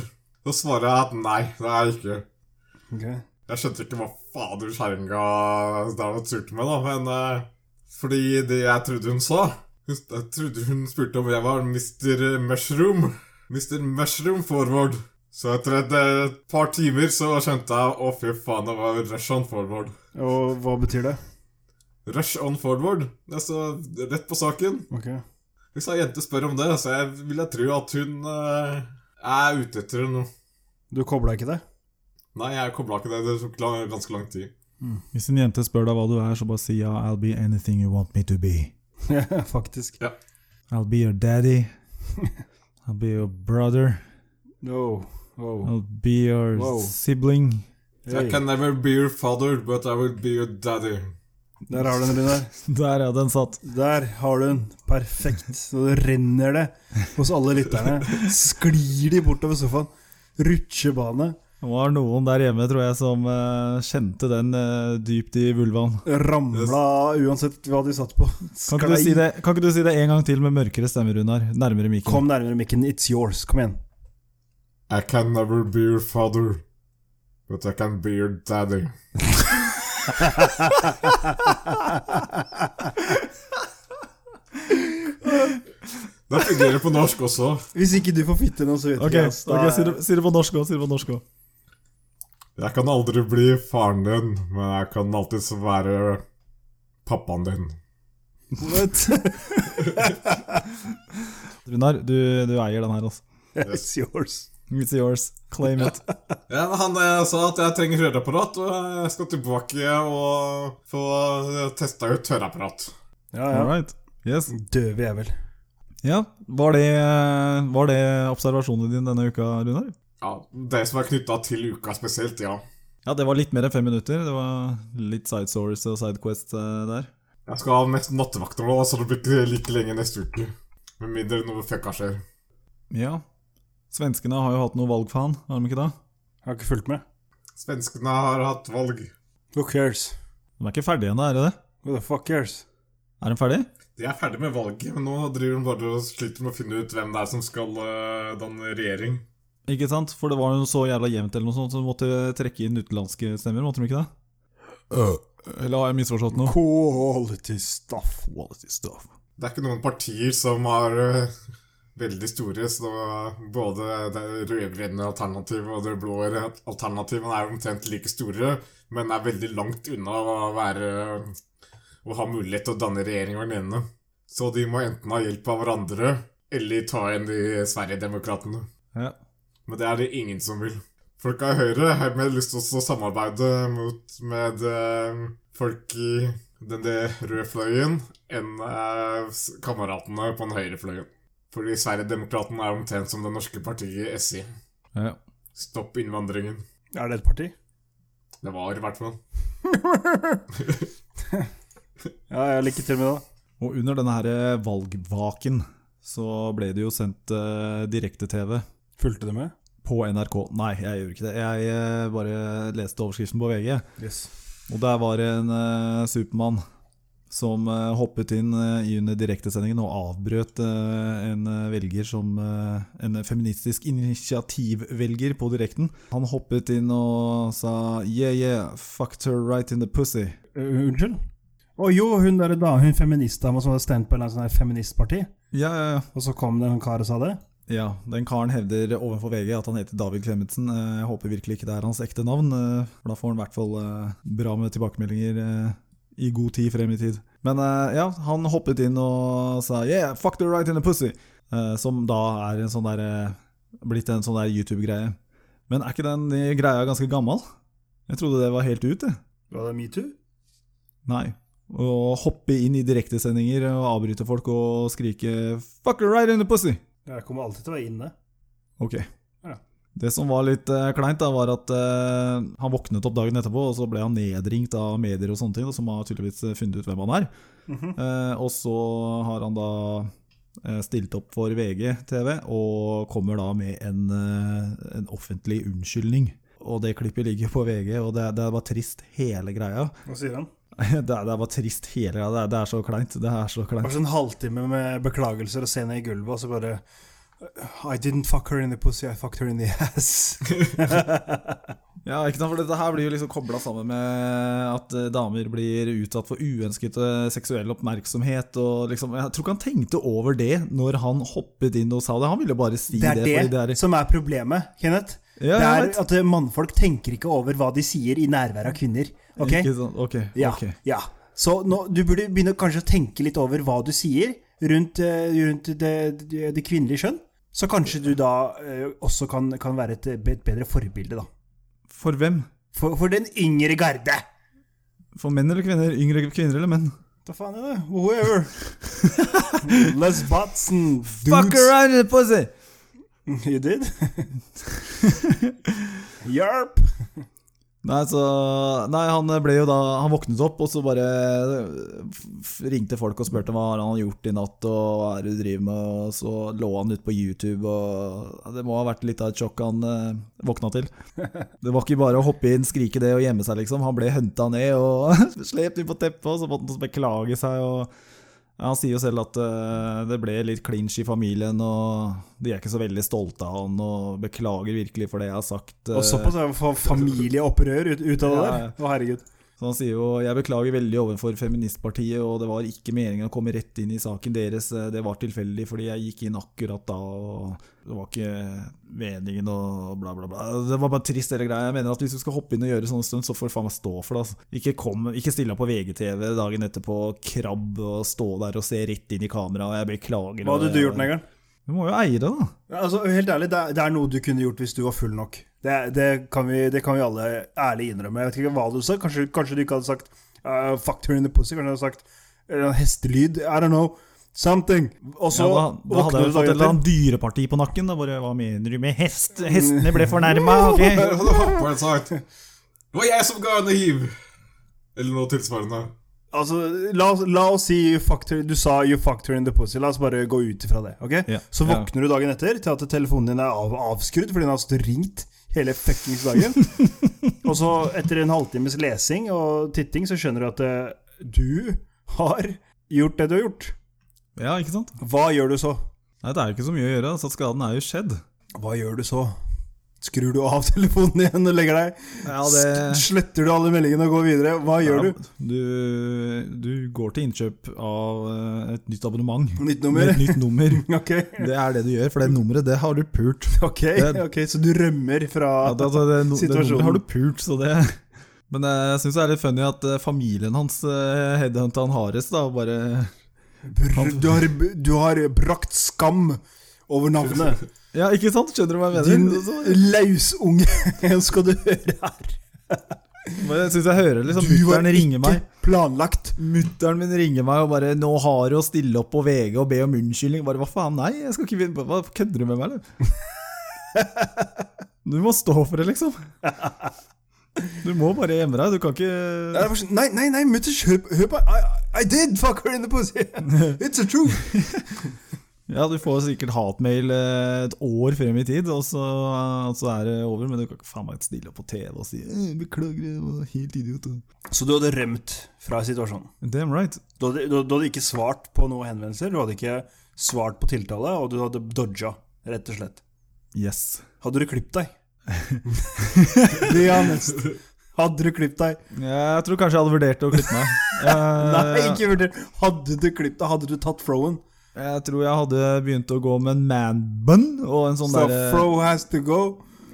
Speaker 2: Så svarer jeg at nei, det er jeg ikke.
Speaker 3: ok.
Speaker 2: Jeg skjønte ikke hva fader kjerringa der var turte med, da, men eh, Fordi det jeg trodde hun sa Jeg trodde hun spurte om jeg var Mr. Mushroom. Mr. Mushroom Forward. Så etter et eh, par timer så skjønte jeg å, fy faen, det var Rush On Forward.
Speaker 3: Og hva betyr det?
Speaker 2: Rush On Forward. Det er så rett på saken.
Speaker 3: Ok.
Speaker 2: Hvis ei jente spør om det, så jeg, vil jeg tro at hun eh, er ute etter noe.
Speaker 3: Du kobla ikke det?
Speaker 2: Nei, jeg kobla ikke det. Det tok lang, ganske lang tid.
Speaker 1: Hvis en jente spør deg hva du er, så bare si ja, I'll be anything you want me to be.
Speaker 3: Ja, Faktisk.
Speaker 1: I'll be your daddy. I'll be your brother.
Speaker 3: No. Wow.
Speaker 1: I'll be your
Speaker 3: Wow.
Speaker 1: sibling.
Speaker 2: I can never be your father, but I will be your daddy.
Speaker 3: Der har du den, Runar.
Speaker 1: Der, ja, den satt.
Speaker 3: Der har du den. Perfekt. Så det renner det hos alle lytterne. Sklir de bortover sofaen. Rutsjebane.
Speaker 1: Det var noen der hjemme, tror jeg, som eh, kjente den eh, dypt i vulvaen.
Speaker 3: Ramla av uansett hva de satt på.
Speaker 1: Kan ikke, du si det, kan ikke du si det en gang til med mørkere stemmer, Runar? Nærmere mikken.
Speaker 3: Kom nærmere mikken. It's yours. Kom igjen.
Speaker 2: I can never be your father, but I can be your daddy. Det fungerer på norsk også.
Speaker 3: Hvis ikke du får fitte nå, så vet
Speaker 1: Ok,
Speaker 3: vi oss. Da
Speaker 1: ok,
Speaker 3: er-
Speaker 1: si det, si det på norsk òg. Si det på norsk òg.
Speaker 2: Jeg kan aldri bli faren din, men jeg kan alltids være pappaen din.
Speaker 3: What?
Speaker 1: Runar, du, du eier den her, altså.
Speaker 3: It's yours.
Speaker 1: It's yours. Claim it.
Speaker 2: Ja, men han eh, sa at jeg trenger høreapparat, og jeg skal tilbake og få eh, testa ut høreapparat.
Speaker 3: Ja,
Speaker 1: All
Speaker 3: ja.
Speaker 1: right. Yes.
Speaker 3: Døve jævel.
Speaker 1: Ja, var det, var det observasjonen din denne uka, Runar?
Speaker 2: Ja, Det som er knytta til uka spesielt, ja.
Speaker 1: Ja, det var litt mer enn fem minutter. Det var litt sidesource og sidequest eh, der.
Speaker 2: Jeg skal ha mest nattevakter nå, så det blir ikke like lenge neste uke. Med mindre noe fucka skjer.
Speaker 1: Ja. Svenskene har jo hatt noe valg, faen. Har de ikke det?
Speaker 3: Jeg har ikke fulgt med.
Speaker 2: Svenskene har hatt valg.
Speaker 3: Who cares?
Speaker 1: De er ikke ferdige ennå, er de det?
Speaker 3: Who the fuck cares?
Speaker 1: Er de ferdige?
Speaker 2: De er ferdig med valget, men nå driver de bare og sliter med å finne ut hvem det er som skal eh, danne regjering.
Speaker 1: Ikke sant? For det var jo så jævla jevnt eller noe sånt, så de måtte trekke inn utenlandske stemmer, måtte de ikke det? Øh. Eller har jeg misforstått noe?
Speaker 3: Quality stuff.
Speaker 1: Quality stuff.
Speaker 2: Det er ikke noen partier som er eh, veldig store, så både det rød-grønne alternativet og det blå alternativet er omtrent like store, men er veldig langt unna å være Å ha mulighet til å danne regjering hver ene. Så de må enten ha hjelp av hverandre, eller ta igjen de Sverigedemokraterna.
Speaker 1: Ja.
Speaker 2: Men det er det ingen som vil. Folka i Høyre har mer lyst til å samarbeide mot, med eh, folk i den der røde fløyen enn eh, s- kameratene på den høyre fløyen. Fordi Sverigedemokraten er omtrent som det norske partiet SI.
Speaker 1: ja.
Speaker 2: Stopp innvandringen.
Speaker 3: Er det et parti?
Speaker 2: Det var i hvert fall.
Speaker 3: Ja, jeg lykke til med det.
Speaker 1: Og under denne her eh, valgvaken så ble det jo sendt eh, direkte-TV
Speaker 3: Fulgte du med?
Speaker 1: på NRK. Nei, jeg gjorde ikke det. Jeg eh, bare leste overskriften på VG.
Speaker 3: Yes.
Speaker 1: Og der var det en eh, Supermann som eh, hoppet inn eh, i under direktesendingen og avbrøt eh, en eh, velger som eh, en feministisk initiativvelger på direkten. Han hoppet inn og sa yeah, yeah, fucked her right in the pussy.
Speaker 3: Øh, unnskyld? Å jo, hun der da, hun feministdama som hadde stemt på en eller annen sånn her feministparti.
Speaker 1: Ja, ja, ja.
Speaker 3: Og så kom det en kar og sa det.
Speaker 1: Ja, den karen hevder overfor VG at han heter David Klemetsen. Eh, Jeg håper virkelig ikke det er hans ekte navn, eh, for da får han i hvert fall eh, bra med tilbakemeldinger eh, i god tid frem i tid. Men eh, ja, han hoppet inn og sa 'yeah, fuck the right in the pussy', eh, som da er en sånn der, eh, blitt en sånn der YouTube-greie. Men er ikke den eh, greia ganske gammel? Jeg trodde det var helt ut, jeg.
Speaker 3: Var det metoo?
Speaker 1: Nei. Å hoppe inn i direktesendinger og avbryte folk og skrike 'fuck the right in the pussy'.
Speaker 3: Jeg kommer alltid til å være inne.
Speaker 1: Ok.
Speaker 3: Ja.
Speaker 1: Det som var litt eh, kleint, da, var at eh, han våknet opp dagen etterpå, og så ble han nedringt av medier og sånne ting, da, som har tydeligvis eh, funnet ut hvem han er. Eh, og så har han da eh, stilt opp for VGTV, og kommer da med en, eh, en offentlig unnskyldning. Og det klippet ligger på VG, og det, det var trist hele greia.
Speaker 3: Hva sier han?
Speaker 1: det, det var trist hele greia, det, er- det er så kleint. Det er så kleint.
Speaker 3: Bare sånn halvtime med beklagelser og se ned i gulvet, og så bare I didn't fuck her in the pussy, I fucked her in the ass.
Speaker 1: Ja, ikke sant, for dette her blir jo liksom kobla sammen med at eh, damer blir utsatt for uønsket eh, seksuell oppmerksomhet og liksom Jeg tror ikke han tenkte over det når han hoppet inn og sa det. Han ville bare si
Speaker 3: Det
Speaker 1: det.
Speaker 3: er det,
Speaker 1: fordi det er,
Speaker 3: som er problemet, Kenneth.
Speaker 1: Ja,
Speaker 3: det
Speaker 1: jeg
Speaker 3: er
Speaker 1: vet.
Speaker 3: at eh, mannfolk tenker ikke over hva de sier i nærvær av kvinner. Ok?
Speaker 1: Ikke sant? Ok,
Speaker 3: Ja,
Speaker 1: ok.
Speaker 3: ja. Så nå, du burde begynne kanskje å tenke litt over hva du sier rundt, eh, rundt det, det, det kvinnelige skjønn. Så kanskje du da eh, også kan, kan være et, et bedre forbilde, da.
Speaker 1: For hvem?
Speaker 3: For, for den yngre garde!
Speaker 1: For menn eller kvinner? Yngre kvinner eller menn?
Speaker 3: Hva faen er det? Whoever. Les Batson,
Speaker 1: Fuck
Speaker 3: dudes.
Speaker 1: around in the pussy!
Speaker 3: You did? Yarp.
Speaker 1: Nei, så, nei, han ble jo da Han våknet opp, og så bare f- ringte folk og spurte hva har han gjort i natt, og hva er det du driver med, og så lå han ute på YouTube, og det må ha vært litt av et sjokk han eh, våkna til. Det var ikke bare å hoppe inn, skrike det og gjemme seg, liksom. Han ble henta ned og slept inn på teppet, og så måtte han beklage seg, og ja, han sier jo selv at eh, det ble litt clinch i familien, og de er ikke så veldig stolte av han, og beklager virkelig for det jeg har sagt. eh,
Speaker 3: Og såpass er det familieopprør ut, ut av det
Speaker 1: Ja,
Speaker 3: der. Å, herregud.
Speaker 1: Så han sier jo jeg beklager veldig overfor Feministpartiet, og det var ikke meningen å komme rett inn i saken deres. Eh, Det var tilfeldig fordi jeg gikk inn akkurat da, og det var ikke meningen og bla, bla, bla. Det var bare trist, hele greia. Jeg mener at hvis du skal hoppe inn og gjøre sånne stunt, så får du faen meg stå for det. Altså. Ikke, kom, ikke stille opp på VGTV dagen etterpå, krabb og stå der og se rett inn i kameraet. Jeg beklager.
Speaker 3: Hva hadde du gjort, Negeren?
Speaker 1: Du må jo eie det, da.
Speaker 3: Ja, Altså, helt ærlig, det er, det er noe du kunne gjort hvis du var full nok. Det, det, kan, vi, det kan vi alle ærlig innrømme. Jeg vet ikke hva du sa. Kanskje, kanskje du ikke hadde sagt uh, 'fuck her in the pussy'. Kanskje du hadde sagt eh, hestelyd. I don't know. Something. Og så
Speaker 1: ja, da, da hadde jeg jo fått et eller annet dyreparti på nakken. Da bare, Hva mener du med hest? Hestene ble fornærma!
Speaker 2: Jeg hadde hoppa og sagt Det var jeg som ga henne hiv! Eller noe tilsvarende.
Speaker 3: Altså, la, oss- la oss si you fucked her, du sa 'you fucked her in the pussy'. La oss bare gå ut ifra det. ok?
Speaker 1: Ja,
Speaker 3: Så
Speaker 1: ja.
Speaker 3: våkner du dagen etter til at telefonen din er av, avskrudd fordi den har stått ringt hele fuckings dagen. og så, etter en halvtimes lesing og titting, så skjønner du at eh, du har gjort det du har gjort.
Speaker 1: Ja, ikke sant?
Speaker 3: Hva gjør du så?
Speaker 1: Nei, Det er jo ikke så mye å gjøre. altså Skaden er jo skjedd.
Speaker 3: Hva gjør du så? Skrur du av telefonen igjen og legger deg?
Speaker 1: Ja,
Speaker 3: Sk- Sletter du alle meldingene og går videre? Hva gjør du?
Speaker 1: du? Du går til innkjøp av eh, et nytt abonnement.
Speaker 3: Nytt
Speaker 1: Med
Speaker 3: nummer?
Speaker 1: et nytt nummer.
Speaker 3: Ok,
Speaker 1: Det er det du gjør, for det nummeret det har du pult.
Speaker 3: ok,
Speaker 1: Det-
Speaker 3: ok, så du rømmer fra
Speaker 1: Ja, det, altså, det, no- det
Speaker 3: Situasjonen.
Speaker 1: nummeret har du pult, så det Men eh, jeg syns det er litt funny at eh, familien hans eh, headhunta han hardest, da. og Bare
Speaker 3: Br du, har, du har brakt skam over navnet.
Speaker 1: Ja, ikke sant? Skjønner du hva jeg
Speaker 3: Din
Speaker 1: mener? Så-
Speaker 3: lausunge, skal du høre her.
Speaker 1: Men Jeg syns jeg hører liksom
Speaker 3: Du var
Speaker 1: mutter'n ringe meg.
Speaker 3: ikke planlagt.
Speaker 1: Mutter'n min ringer meg og bare 'Nå har du å stille opp på VG og be om unnskyldning.' Bare, Hva faen? Nei, jeg skal ikke vinne Hva kødder du med meg, eller? Du må stå for det, liksom. Du må bare gjemme deg. Du kan
Speaker 3: Nei,
Speaker 1: ikke
Speaker 3: det var sånn, Nei, nei, nei, mutters, hør på, hør på I, I did fuck her in the pussy. It's a truth.
Speaker 1: Ja, du får sikkert hatmail eh, et år frem i tid, og så, og så er det over. Men du kan ikke faen meg stille opp på TV og si «Eh, 'Beklager, jeg var helt idiot'.
Speaker 3: Så du hadde rømt fra situasjonen?
Speaker 1: Damn right.
Speaker 3: Du hadde, du, du hadde ikke svart på noen henvendelser, du hadde ikke svart på tiltale, og du hadde dodga, rett og slett.
Speaker 1: Yes.
Speaker 3: Hadde du klippet deg? Be honest. Hadde du klippet deg?
Speaker 1: Jeg tror kanskje jeg hadde vurdert å klippe meg. Eh,
Speaker 3: Nei, ikke vurder. Hadde du klippet deg, hadde du tatt froen?
Speaker 1: Jeg tror jeg hadde begynt å gå med en man bun og en sånn
Speaker 3: Så
Speaker 1: derre
Speaker 3: fro has to go.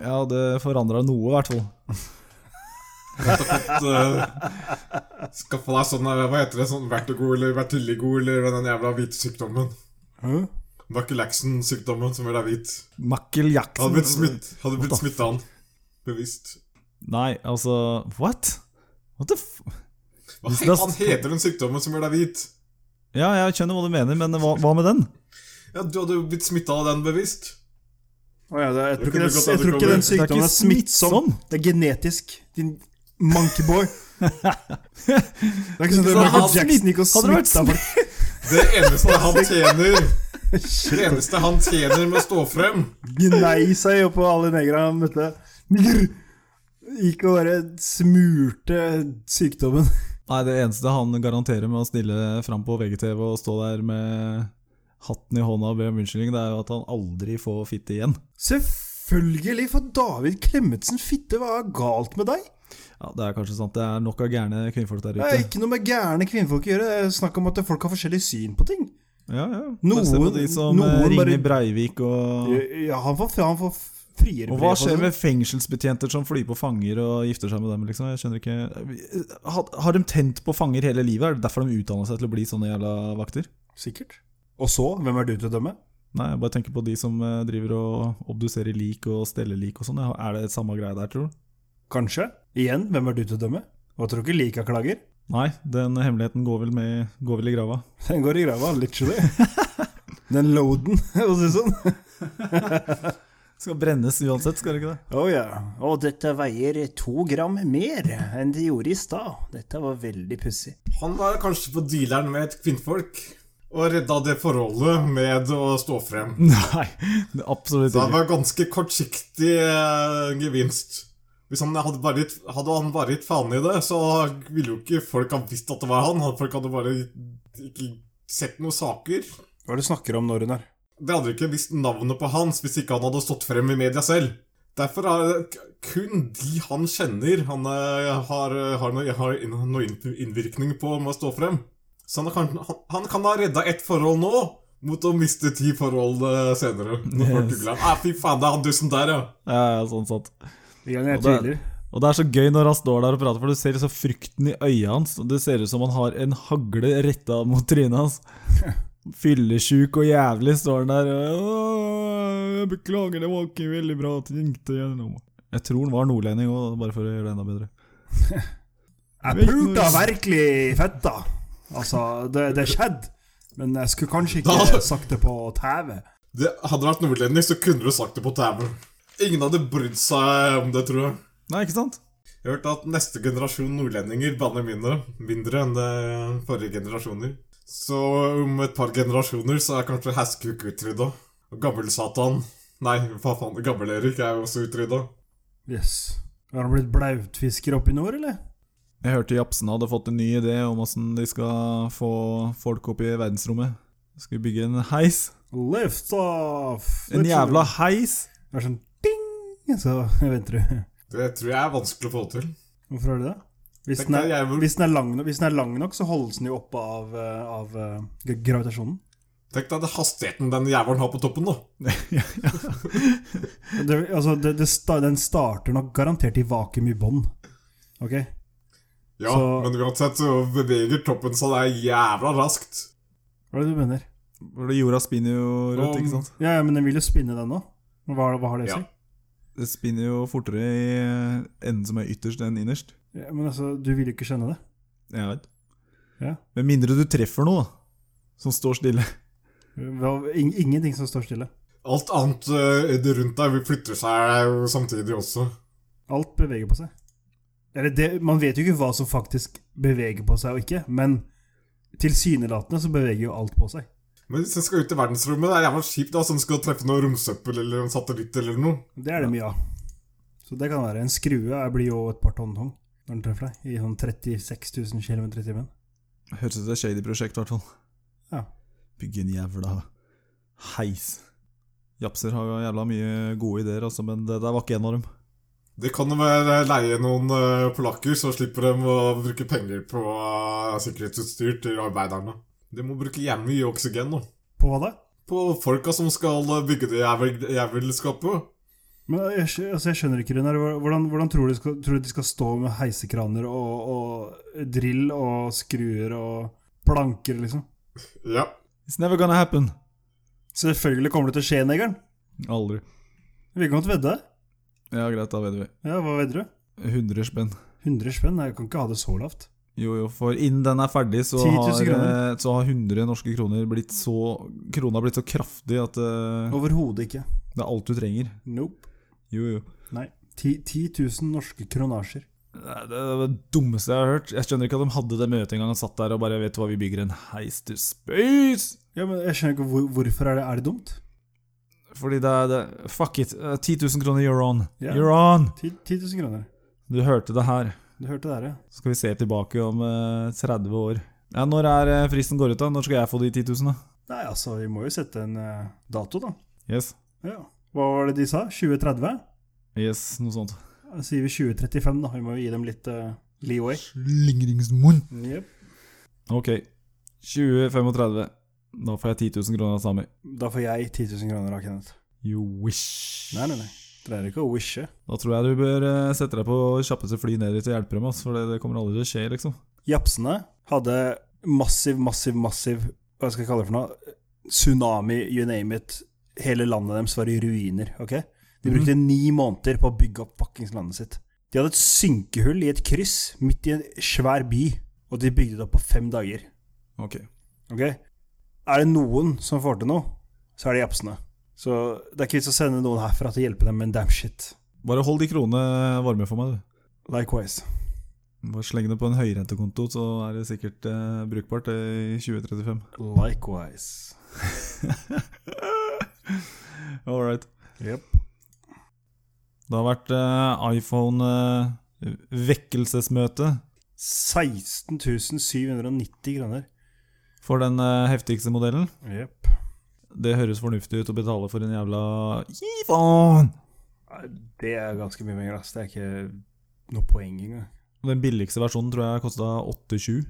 Speaker 1: Jeg hadde forandra noe, i hvert fall.
Speaker 2: At, eh, Skaffa deg sånn eh, hva heter det, sånn vertigo eller vertiligo eller den jævla hvite sykdommen.
Speaker 3: Hæ?
Speaker 2: Buckelaksen-sykdommen som gjør deg hvit.
Speaker 1: Michael
Speaker 2: Hadde blitt
Speaker 1: Jackson
Speaker 2: smitt, hadde blitt smitta han. Bevisst.
Speaker 1: Nei, altså What? What the f...
Speaker 2: Hva
Speaker 1: Hvis det er-
Speaker 2: faen heter den sykdommen som gjør deg hvit?
Speaker 1: Ja, jeg skjønner hva du mener, men hva, hva med den?
Speaker 2: Ja, Du hadde jo blitt smitta av den bevisst.
Speaker 3: Å ja, det, jeg, tror
Speaker 2: Det
Speaker 3: ikke
Speaker 2: kunne
Speaker 3: den,
Speaker 2: godt
Speaker 3: jeg tror
Speaker 2: hende
Speaker 3: ikke
Speaker 2: det
Speaker 3: den
Speaker 1: kommer.
Speaker 3: sykdommen
Speaker 1: Det er
Speaker 3: er
Speaker 1: ikke
Speaker 3: smittsom.
Speaker 1: smittsom.
Speaker 3: Det er genetisk, din monkeyboy. Det er ikke sånn at
Speaker 1: Så
Speaker 3: Michael
Speaker 1: hadde-
Speaker 3: Jackson gikk og
Speaker 1: hadde det vært
Speaker 3: smitta folk.
Speaker 2: Det eneste han tjener Det eneste han tjener med å stå frem
Speaker 3: Gnei seg oppå alle negra han møtte. Nigger! Gikk og bare smurte sykdommen.
Speaker 1: Nei, det eneste han garanterer med å stille fram på VGTV og stå der med hatten i hånda og be om unnskyldning, det er jo at han aldri får fitte igjen.
Speaker 3: Selvfølgelig, for David Klemetsen, fitte, hva er galt med deg?
Speaker 1: Ja, Det er kanskje sant. Det er nok av gærne kvinnfolk der
Speaker 3: Det er
Speaker 1: ute.
Speaker 3: ikke noe med gærne kvinnfolk å gjøre. Det er snakk om at folk har forskjellig syn på ting.
Speaker 1: Ja, ja.
Speaker 3: Noen-
Speaker 1: Bare se på de som eh,
Speaker 3: noen bare-
Speaker 1: ringer Breivik og
Speaker 3: Ja, han får, han får friere
Speaker 1: Og sånn. hva skjer med fengselsbetjenter som flyr på fanger og gifter seg med dem? liksom? Jeg skjønner ikke... Har, har de tent på fanger hele livet? Er det derfor de utdanna seg til å bli sånne jævla vakter?
Speaker 3: Sikkert. Og så, hvem er du til å dømme?
Speaker 1: Nei, jeg bare tenker på de som eh, driver og obduserer lik og steller lik og sånn. ja. Er det samme greie der, tror du?
Speaker 3: Kanskje. Igjen, hvem er du til å dømme? Og jeg tror ikke Lika klager.
Speaker 1: Nei, den hemmeligheten går vel, med, går vel i grava.
Speaker 3: Den går i grava, literally. Den loaden, for å si det sånn.
Speaker 1: Skal brennes uansett, skal det ikke det?
Speaker 3: Å ja. Og dette veier to gram mer enn det gjorde i stad. Dette var veldig pussig.
Speaker 2: Han var kanskje på dealeren med et kvinnfolk Og redda det forholdet med å stå frem
Speaker 1: Nei, det er absolutt
Speaker 2: Så det
Speaker 1: ikke.
Speaker 2: var ganske kortsiktig eh, gevinst Hvis han hadde bare gitt, hadde han bare gitt faen i det Så ville jo ikke folk ha visst at det var han Folk hadde bare ikke sett noen saker
Speaker 3: Hva er det du snakker om når hun er?
Speaker 2: De hadde ikke visst navnet på hans Hvis ikke han hadde stått frem i media selv Derfor er det k- kun de han kjenner, han eh, har, har, noe, har inn- noe inn- innvirkning på med å stå frem. Så han kan, han, han kan ha redda ett forhold nå, mot å miste ti forhold eh, senere. Når folk
Speaker 1: Yes.
Speaker 2: googler han. Ah, fy faen, det er han dussen der, ja.
Speaker 1: Ja, ja, sånn sett.
Speaker 3: De gangene jeg
Speaker 1: Og det-
Speaker 3: tviler.
Speaker 1: Og det er så gøy når han står der og prater, for du ser så frykten i øya hans. og Det ser ut som han har en hagle retta mot trynet hans. Fyllesjuk og jævlig står han der. «Åh, Jeg beklager, det var ikke veldig bra. at Jeg ringte gjennom». Jeg tror han var nordlending òg, bare for å gjøre det enda bedre.
Speaker 3: Jeg pulte virkelig fett, da. Altså, det, det skjedde. Men jeg skulle kanskje
Speaker 2: Da-
Speaker 3: ikke sagt det på TV.
Speaker 2: Det, hadde det vært nordlending, så kunne du sagt det på TV. Ingen hadde brydd seg om det, tror jeg.
Speaker 1: Nei, ikke sant?
Speaker 2: Jeg har hørt at neste generasjon nordlendinger banner mindre, mindre enn det forrige generasjoner. Så om et par generasjoner så er kanskje Haskuk utrydda. Og Gammel-Satan Nei, hva faen, Gammel-Erik er jo også utrydda.
Speaker 3: Yes. Har han blitt blautfisker oppe i nord, eller?
Speaker 1: Jeg hørte Japsen hadde fått en ny idé om åssen de skal få folk opp i verdensrommet. De skal bygge en heis.
Speaker 3: Lift off!
Speaker 1: En jævla heis!
Speaker 3: Det er sånn ding, så venter du.
Speaker 2: Det tror jeg er vanskelig å få til.
Speaker 3: Hvorfor er det det? Hvis
Speaker 2: Tenk
Speaker 3: den er,
Speaker 2: deg, jeg hvor-
Speaker 3: hvis den er, lang, nok, hvis den er lang nok, så holdes den jo oppe av, eh, av eh, gra- gravitasjonen.
Speaker 2: Tenk deg den hastigheten den jævelen har på toppen, da.
Speaker 3: Det, altså, det, det sta, den starter nok garantert i vakuum i bånn. Ok?
Speaker 2: Ja,
Speaker 3: Så-
Speaker 2: men uansett så beveger toppen seg der jævla raskt.
Speaker 3: Hva er det du mener?
Speaker 1: Hvor det Jorda spinner jo rundt, ikke sant?
Speaker 3: Ja, ja, men den vil jo spinne, den òg. Hva, hva har det å
Speaker 2: Ja.
Speaker 3: si?
Speaker 1: Det spinner jo fortere i eh, enden som er ytterst enn innerst.
Speaker 3: Ja, men altså, du vil jo ikke skjønne det.
Speaker 1: Jeg vet.
Speaker 3: Ja.
Speaker 1: Med mindre du treffer noe da, som står stille.
Speaker 3: Hva- ing- Ingenting som står stille.
Speaker 2: Alt annet eh, det rundt deg flytter seg jo samtidig også.
Speaker 3: Alt beveger på seg. Eller det, man vet jo ikke hva som faktisk beveger på seg og ikke, men tilsynelatende så beveger jo alt på seg.
Speaker 2: Men hvis den skal ut i verdensrommet, det er jævla kjipt da, så den skal treffe noe romsøppel eller en satellitt eller noe.
Speaker 3: Det er det mye av. Så det kan være. En skrue er- blir jo et par tonn tung når den treffer deg, i sånn 36 000 km i timen.
Speaker 1: Høres ut som et shady prosjekt, i hvert fall.
Speaker 3: Ja.
Speaker 1: Bygge en jævla heis. Japser har jo jævla mye gode ideer, altså, men det der var ikke en av dem.
Speaker 2: Det kan jo være leie noen eh, polakker, så slipper de å bruke penger på eh, sikkerhetsutstyr til arbeiderne. De må bruke jævlig mye oksygen nå.
Speaker 3: På hva da?
Speaker 2: På folka som skal eh, bygge det jævel- jævelskapet.
Speaker 3: Men jeg, skj- altså jeg skjønner ikke, Runar. Hvordan, hvordan tror, du skal, tror du de skal stå med heisekraner og, og drill og skruer og planker, liksom?
Speaker 2: Ja.
Speaker 1: It's never gonna happen.
Speaker 3: Selvfølgelig kommer det til å skje, negeren.
Speaker 1: Aldri.
Speaker 3: Vi kan godt vedde.
Speaker 1: Ja, greit, da vet vi.
Speaker 3: Ja, hva vedder du?
Speaker 1: 100 spenn.
Speaker 3: 100 spenn? Jeg kan ikke ha det så lavt.
Speaker 1: Jo, jo, for innen den er ferdig, så
Speaker 3: 10 000
Speaker 1: har,
Speaker 3: kroner.
Speaker 1: eh, så har 100 norske kroner blitt så Krona har blitt så kraftig at eh,
Speaker 3: Overhodet ikke.
Speaker 1: det er alt du trenger.
Speaker 3: Nope.
Speaker 1: Jo, jo.
Speaker 3: Nei. 10 000 norske kronasjer.
Speaker 1: Det er det dummeste jeg har hørt. Jeg skjønner ikke at de hadde det møtet engang. Han satt der og bare Vet du hva, vi bygger en heis til space!
Speaker 3: Ja, men jeg skjønner ikke hvor, hvorfor er det, er det dumt?
Speaker 1: Fordi det er det, Fuck it. eh, 10 000 kroner, you're on.
Speaker 3: Ja.
Speaker 1: You're on!
Speaker 3: 10, 000 kroner.
Speaker 1: Du hørte det her.
Speaker 3: Du hørte det her, ja.
Speaker 1: Så skal vi se tilbake om eh, 30 år. Ja, Når er eh, fristen går ut, da? Når skal jeg få de 10 000, da?
Speaker 3: Nei, altså, vi må jo sette en eh, dato, da.
Speaker 1: Yes.
Speaker 3: Ja. Hva var det de sa? 2030?
Speaker 1: Yes, noe sånt.
Speaker 3: Da sier vi 2035, da. Vi må jo gi dem litt eh, leeway.
Speaker 1: Slingringsmunn.
Speaker 3: Jep.
Speaker 1: Ok. 2035. Da får jeg 10 000 kroner av Sami.
Speaker 3: Da får jeg 10 000 kroner av Kenneth.
Speaker 1: You wish.
Speaker 3: Nei, nei, nei. Det er ikke å wishe.
Speaker 1: Da tror jeg du bør eh, sette deg på kjappeste fly ned dit og hjelpe dem, ass, for det, det kommer aldri til å skje, liksom.
Speaker 3: Japsene hadde massiv, massiv, massiv Hva skal jeg kalle det for noe? Tsunami, you name it. Hele landet deres var i ruiner. ok? De
Speaker 1: Mhm.
Speaker 3: brukte ni måneder på å bygge opp fuckings landet sitt. De hadde et synkehull i et kryss midt i en svær by, og de bygde det opp på fem dager.
Speaker 1: Ok.
Speaker 3: ok? Er det noen som får til noe, så er det japsene. Så det er ikke vits å sende noen herfra til å hjelpe dem med en damn shit.
Speaker 1: Bare hold de kronene varme for meg, du.
Speaker 3: Likewise.
Speaker 1: Bare sleng det på en høyrentekonto, så er det sikkert eh, brukbart eh, i 2035.
Speaker 3: Likewise.
Speaker 1: All right.
Speaker 3: Yep.
Speaker 1: Det har vært eh, iPhone-vekkelsesmøte
Speaker 3: 16 790 kroner.
Speaker 1: for den eh, heftigste modellen.
Speaker 3: Yep.
Speaker 1: Det høres fornuftig ut å betale for en jævla iPhone!
Speaker 3: Nei, Det er ganske mye penger, ass. Det er ikke noe poeng engang.
Speaker 1: Den billigste versjonen tror jeg kosta 87.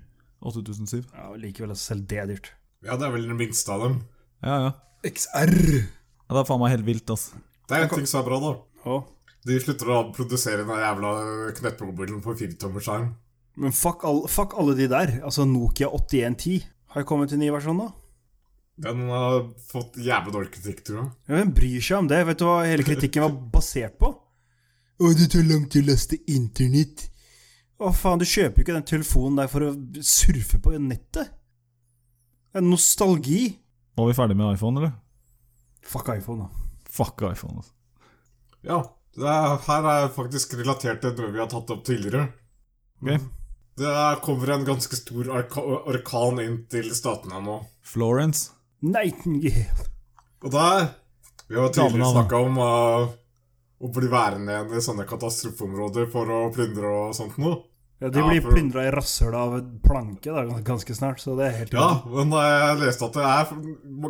Speaker 1: 8007.
Speaker 3: Ja, og likevel, altså, selv det er dyrt.
Speaker 2: Ja, det er vel den minste av dem.
Speaker 1: Ja, ja.
Speaker 3: XR!
Speaker 1: ja det er faen meg helt vilt, ass.
Speaker 2: Det er en ting som er bra, da.
Speaker 3: Å,
Speaker 2: De slutter å produsere den jævla knettmobilen på firetommerskjerm.
Speaker 3: men fuck, all, fuck alle de der. Altså, Nokia 8110 har jo kommet i ny versjon, da.
Speaker 2: Den har fått jævlig dårlig kritikk, tror jeg.
Speaker 3: Ja, Hvem bryr seg om det? Vet du hva hele kritikken var basert på? Å, det tar lang tid å laste internett. Å, faen, du kjøper jo ikke den telefonen der for å surfe på nettet. Det er nostalgi.
Speaker 1: Var vi ferdig med iPhone, eller?
Speaker 3: Fuck iPhone, da.
Speaker 1: Fuck iPhone, ass.
Speaker 2: Ja, det er, her er faktisk relatert til noe vi har tatt opp tidligere. Mm.
Speaker 1: Ok.
Speaker 2: Det er- kommer en ganske stor orka- orkan inn til statene nå.
Speaker 1: Florence.
Speaker 3: Nightingale.
Speaker 2: Og der Vi har
Speaker 1: Damen,
Speaker 2: tidligere
Speaker 1: da.
Speaker 2: snakka om eh, å bli værende igjen i sånne katastrofeområder for å plyndre og sånt noe.
Speaker 3: Ja, de
Speaker 2: Ja,
Speaker 3: blir
Speaker 2: for-
Speaker 3: plyndra i rasshøla av en planke da, gans- ganske snart, så det er helt
Speaker 2: Ja, men jeg leste at det er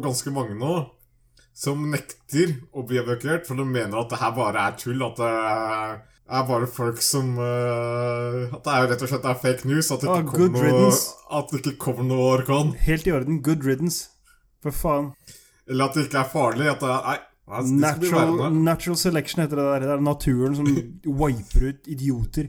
Speaker 2: ganske mange nå som nekter å bli evakuert, for de mener at det her bare er tull. At det er bare folk som eh, At det er rett og slett er fake news. At det
Speaker 3: Ah,
Speaker 2: ikke,
Speaker 3: good
Speaker 2: kommer, noe,
Speaker 3: riddance.
Speaker 2: at det ikke kommer noe orkan.
Speaker 3: Helt i orden. Good riddance. For faen.
Speaker 2: Eller at det ikke er farlig. At det er Nei, nei de skal bli
Speaker 3: Natural,
Speaker 2: værende.
Speaker 3: natural selection heter det der. Det er naturen som wiper ut idioter.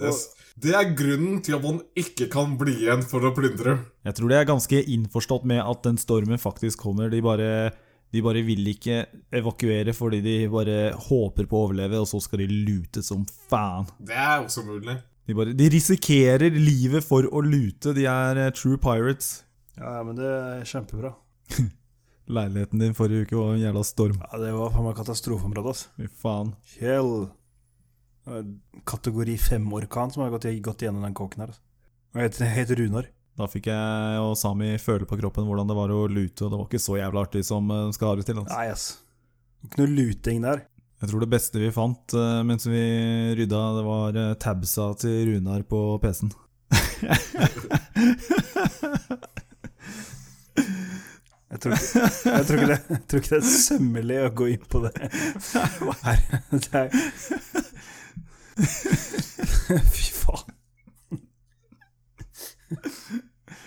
Speaker 2: Yes. Det er grunnen til at man ikke kan bli igjen for å plyndre.
Speaker 1: Jeg tror de er ganske innforstått med at den stormen faktisk kommer. De bare, de bare vil ikke evakuere fordi de bare håper på å overleve, og så skal de lute som faen.
Speaker 2: Det er også mulig.
Speaker 1: De, bare, de risikerer livet for å lute. De er eh, true pirates.
Speaker 3: Ja, ja, men det er kjempebra.
Speaker 1: Leiligheten din forrige uke var en jævla storm.
Speaker 3: Ja, Det var faen meg katastrofeområdet, altså.
Speaker 1: Fy faen.
Speaker 3: Hell. Det var Kategori fem-orkan som har gått, gått igjennom den kåken her. altså. Og Jeg heter, jeg heter Runar.
Speaker 1: Da fikk jeg og Sami føle på kroppen hvordan det var å lute, og det var ikke så jævla artig som eh, skal ha det til. Altså.
Speaker 3: Nei, ass. Ikke noe luting der.
Speaker 1: Jeg tror det beste vi fant eh, mens vi rydda, det var eh, tabsa til Runar på PC-en.
Speaker 3: Jeg tror ikke, jeg tror ikke, det, jeg tror ikke det er sømmelig å gå inn på det. Her, det er, fy faen.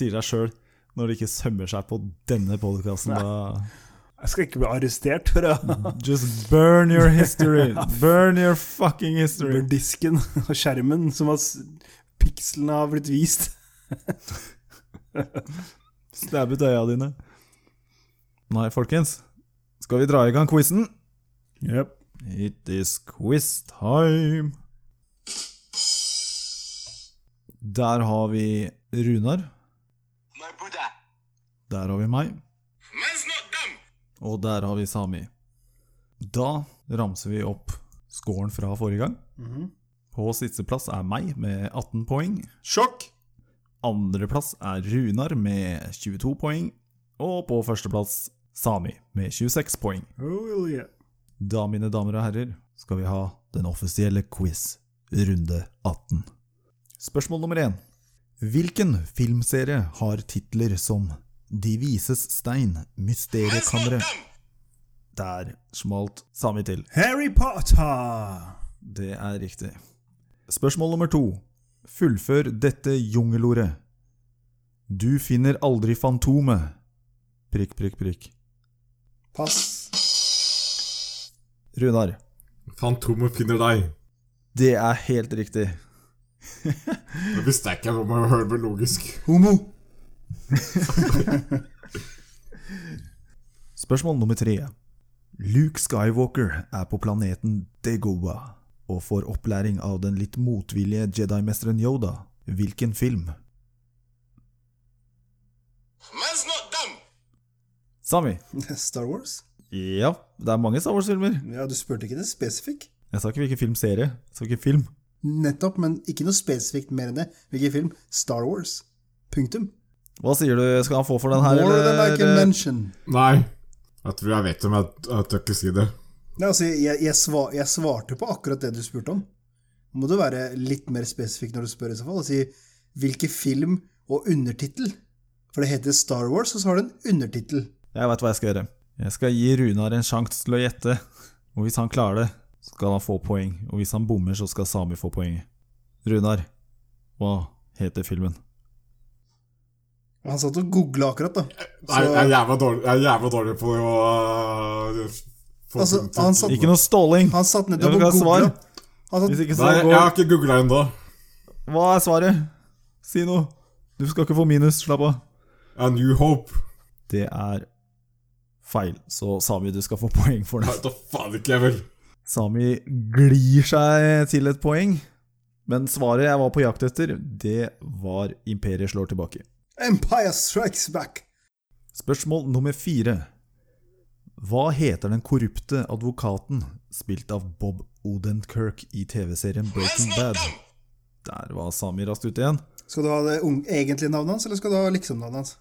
Speaker 1: Sier deg sjøl, når det ikke sømmer seg på denne podkasten, da
Speaker 3: Jeg skal ikke bli arrestert for å
Speaker 1: Just burn your history! Burn your fucking history!
Speaker 3: Over disken og skjermen som har s- pikslene har blitt vist.
Speaker 1: Stab ut øya dine. Nei, folkens. Skal vi dra i gang quizen?
Speaker 3: Yep.
Speaker 1: It is quiz time. Der har vi Runar.
Speaker 4: My Buddha.
Speaker 1: Der har vi meg.
Speaker 4: Man's not dumb.
Speaker 1: Og der har vi Sami. Da ramser vi opp scoren fra forrige gang. På sisteplass er meg med 18 poeng.
Speaker 2: Sjokk!
Speaker 1: Andreplass er Runar med 22 poeng. Og på førsteplass Sami med 26 poeng.
Speaker 3: Oh, yeah.
Speaker 1: Da, mine damer og herrer, skal vi ha den offisielle quiz, runde 18. Spørsmål nummer 1. Hvilken filmserie har titler som De vises stein,
Speaker 4: Man's not
Speaker 1: Mysteriekammeret
Speaker 4: dumb.
Speaker 1: Der smalt Sami til.
Speaker 3: Harry Potter!
Speaker 1: Det er riktig. Spørsmål nummer to. Fullfør dette jungelordet. Du finner aldri Fantomet. Prikk, prikk, prikk.
Speaker 3: Pass.
Speaker 1: Runar,
Speaker 2: Fantomet finner deg.
Speaker 1: det er helt riktig.
Speaker 2: Det visste jeg ikke om jeg hørte det logisk.
Speaker 3: Homo.
Speaker 1: Spørsmål nummer tre. Luke Skywalker er på planeten Degoba og får opplæring av den litt motvillige Jedi-mesteren Yoda. Hvilken film?
Speaker 4: Man's not dumb.
Speaker 1: Sami.
Speaker 3: Star Wars?
Speaker 1: Ja, det er mange Star Wars-filmer.
Speaker 3: Ja, du spurte ikke det spesifikt.
Speaker 1: Jeg sa ikke hvilken filmserie. Jeg sa ikke film.
Speaker 3: Nettopp, men ikke noe spesifikt mer enn det. Hvilken film? Star Wars. Punktum.
Speaker 1: Hva sier du? Skal han få for den her,
Speaker 3: mention.
Speaker 2: Nei. Jeg tror jeg vet om jeg, jeg tør ikke si det.
Speaker 5: Nei, altså, jeg, jeg, sva- jeg svarte på akkurat det du spurte om. Må du være litt mer spesifikk når du spør, i så fall, og si hvilke film og undertittel? For det heter Star Wars, og så har det en undertittel.
Speaker 1: Jeg veit hva jeg skal gjøre. Jeg skal gi Runar en sjanse til å gjette. Og hvis han klarer det, skal han få poeng, og hvis han bommer, så skal Sami få poeng. Runar, hva heter filmen?
Speaker 3: Han satt og googla akkurat, da.
Speaker 2: Nei, jeg er jævla dårlig, jeg er jævla dårlig på å øh, få
Speaker 3: Altså,
Speaker 2: ting
Speaker 3: han satt-
Speaker 1: Ikke noe ståling!
Speaker 3: Han satt
Speaker 1: Jeg
Speaker 3: nettopp
Speaker 1: vil
Speaker 3: og
Speaker 1: ikke ha svar.
Speaker 3: googla. Han satt
Speaker 1: Hvis ikke
Speaker 2: Nei,
Speaker 1: så
Speaker 2: jeg har
Speaker 1: går
Speaker 2: ikke googla ennå.
Speaker 1: Hva er svaret? Si noe! Du skal ikke få minus, slapp av.
Speaker 2: A New Hope.
Speaker 1: Det er feil, så Sami, du skal få poeng for
Speaker 2: Nei,
Speaker 1: det.
Speaker 2: da faen ikke jeg vel.
Speaker 1: Sami glir seg til et poeng, men svaret jeg var på jakt etter, det var Imperiet slår tilbake.
Speaker 3: Empire Strikes Back.
Speaker 1: Spørsmål nummer fire. Hva heter den korrupte advokaten spilt av Bob Odenkirk i TV-serien Breaking Bad? Der var Sami raskt ute igjen.
Speaker 3: Skal du ha det un- egentlige navnet hans, eller skal du ha liksom-navnet hans?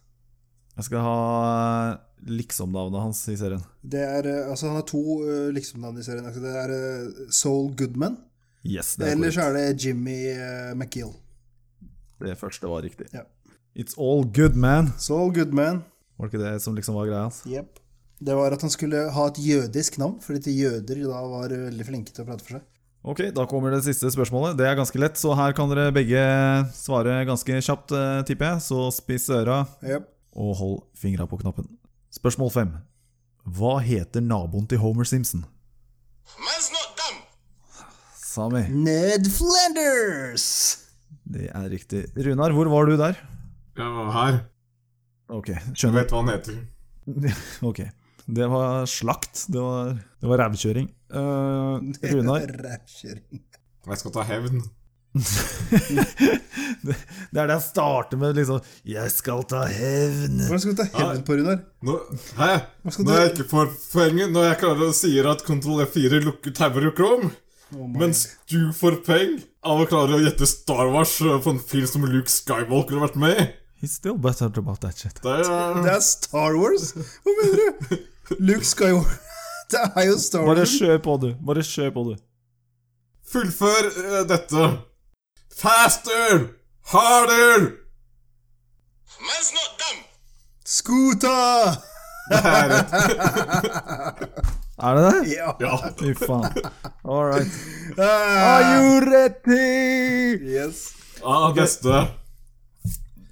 Speaker 1: Jeg skal ha eh, liksomnavnet hans i serien.
Speaker 3: Det er, eh, altså Han har to eh, liksom-navn i serien. Altså, det er eh, Soul Goodman,
Speaker 1: Yes, det er
Speaker 3: eller så
Speaker 1: korrekt.
Speaker 3: er det Jimmy eh, McGill.
Speaker 1: Det første var riktig.
Speaker 3: Ja.
Speaker 1: It's all good, man.
Speaker 3: Saul Goodman.
Speaker 1: Var det ikke det som liksom var greia hans?
Speaker 3: Yep. Det var at han skulle ha et jødisk navn, fordi til jøder da var veldig flinke til å prate for seg.
Speaker 1: Ok, da kommer det siste spørsmålet. Det er ganske lett, så her kan dere begge svare ganske kjapt, eh, tipper jeg. Så spiss øra.
Speaker 3: Yep.
Speaker 1: og hold fingra på knappen. Spørsmål fem. Hva heter naboen til Homer Simpson?
Speaker 6: Man's not dumb.
Speaker 1: Sami,
Speaker 3: Ned Flanders!
Speaker 1: det er riktig. Runar, hvor var du der?
Speaker 2: Jeg var her.
Speaker 1: Ok,
Speaker 2: Jeg
Speaker 1: skjønner.
Speaker 2: vet hva han heter.
Speaker 1: Ok. Det var slakt. Det var, det var rævkjøring. Eh, Runar,
Speaker 3: Rævkjøring.
Speaker 2: Jeg skal ta hevn.
Speaker 1: det er det jeg starter med, liksom. Jeg skal ta hevn.
Speaker 3: Hvordan skal du ta
Speaker 1: Ah.
Speaker 3: hevn på Runar?
Speaker 2: Nå, hæ?
Speaker 3: Hva skal
Speaker 2: Når
Speaker 3: du-
Speaker 2: jeg ikke får poenget, når jeg klarer å sier at Ctrl F4 lukker tauer og krom,
Speaker 3: Oh
Speaker 2: mens du får peng av å klare å gjette Star Wars øh, på en film som Luke Skywalker har vært med i.
Speaker 1: He's still better about that shit.
Speaker 2: Det er,
Speaker 3: Det er Star Wars! Hva mener du? Luke Skywalker Det er jo Star
Speaker 1: Bare
Speaker 3: Wars.
Speaker 1: kjør på, du. Bare kjør på, du.
Speaker 2: Fullfør øh, dette. Faster! Harder!
Speaker 6: Man's not dumb.
Speaker 3: Scooter!
Speaker 2: Det er rett.
Speaker 1: Er det det?
Speaker 3: Ja.
Speaker 2: Ja.
Speaker 1: Fy faen. All right.
Speaker 3: Ah,
Speaker 1: ready?
Speaker 3: Yes.
Speaker 2: Ah, neste.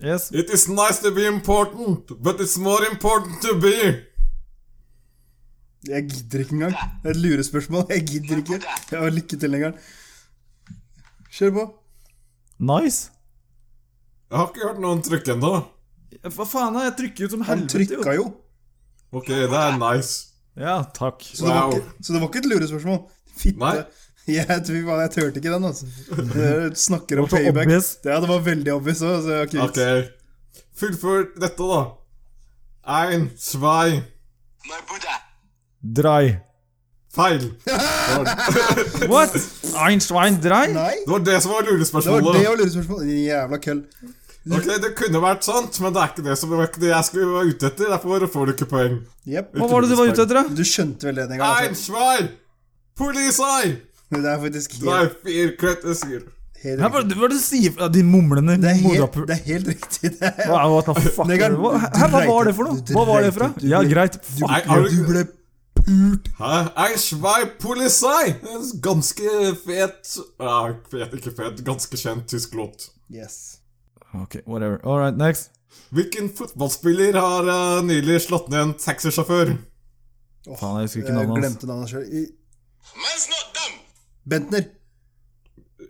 Speaker 1: Yes.
Speaker 2: It is nice to be important, but it's more important to be.
Speaker 3: Jeg gidder ikke engang. Det er et lurespørsmål. Jeg gidder ikke. Jeg har lykke til, Engeren. Kjør på.
Speaker 1: Nice.
Speaker 2: Jeg har ikke hørt noen trykk ennå.
Speaker 1: Hva faen, jeg trykker ut som
Speaker 3: Han
Speaker 1: helvete. jo.
Speaker 3: trykka jo.
Speaker 2: Ok, det er nice.
Speaker 1: Ja, takk.
Speaker 3: Så det, var
Speaker 2: Wow.
Speaker 3: ikke, så det var ikke et lurespørsmål. Fitte.
Speaker 2: Nei.
Speaker 3: Jeg, tror faen, jeg turte ikke den, altså. Dere snakker om
Speaker 1: Det var så
Speaker 3: payback.
Speaker 1: obvious.
Speaker 3: Ja, det var veldig obvious òg, så jeg har
Speaker 2: Ok.
Speaker 3: ikke
Speaker 2: Fullfør dette, da. Ein, svei,
Speaker 6: My Buddha.
Speaker 1: Drei.
Speaker 2: feil.
Speaker 1: What? Einstein drei?
Speaker 3: Nei,
Speaker 2: Det var det som var
Speaker 3: det var det
Speaker 2: lurespørsmålet.
Speaker 3: og lurespørsmål. Din Jævla køll.
Speaker 2: Ok, Det kunne vært sant, men det er ikke det, som, det var ikke det jeg skulle være ute etter. Derfor får du ikke poeng.
Speaker 3: Jep.
Speaker 1: Hva var det du var ute etter, da?
Speaker 3: Du skjønte vel det den gangen?
Speaker 2: Ein, svei, polisei,
Speaker 3: Altså. Det er faktisk
Speaker 2: drei,
Speaker 3: helt,
Speaker 2: fire, krøtt, sier.
Speaker 3: helt
Speaker 1: Hæ, Hva
Speaker 3: riktig.
Speaker 1: hva er det du sier? Ja, Din mumlende
Speaker 3: Det er helt,
Speaker 1: morapuler.
Speaker 3: det er helt riktig. Det er,
Speaker 1: Hva, what the fuck?
Speaker 3: Negeren,
Speaker 1: Hva,
Speaker 3: du
Speaker 1: hæ, hva var
Speaker 3: dreit
Speaker 1: det for
Speaker 3: ut.
Speaker 1: noe?
Speaker 3: Du
Speaker 1: Hva var det
Speaker 3: dreit
Speaker 1: for
Speaker 3: ut.
Speaker 1: noe?
Speaker 3: Du-
Speaker 1: Ja, greit.
Speaker 3: du,
Speaker 1: Fuck.
Speaker 2: Nei, har du-
Speaker 3: du ble pult.
Speaker 2: Hæ? Ein, svei, polisei. En ganske fet ja, fet, Ikke fet, ganske kjent tysk låt.
Speaker 3: Yes.
Speaker 1: Ok, whatever. All right, next.
Speaker 2: Hvilken fotballspiller har eh, nylig slått ned en taxisjåfør?
Speaker 3: Åh,
Speaker 1: Faen, jeg husker ikke
Speaker 3: jeg
Speaker 1: navnet hans.
Speaker 3: Glemte navnet sjøl.
Speaker 6: Man's not dumb.
Speaker 3: Bentner.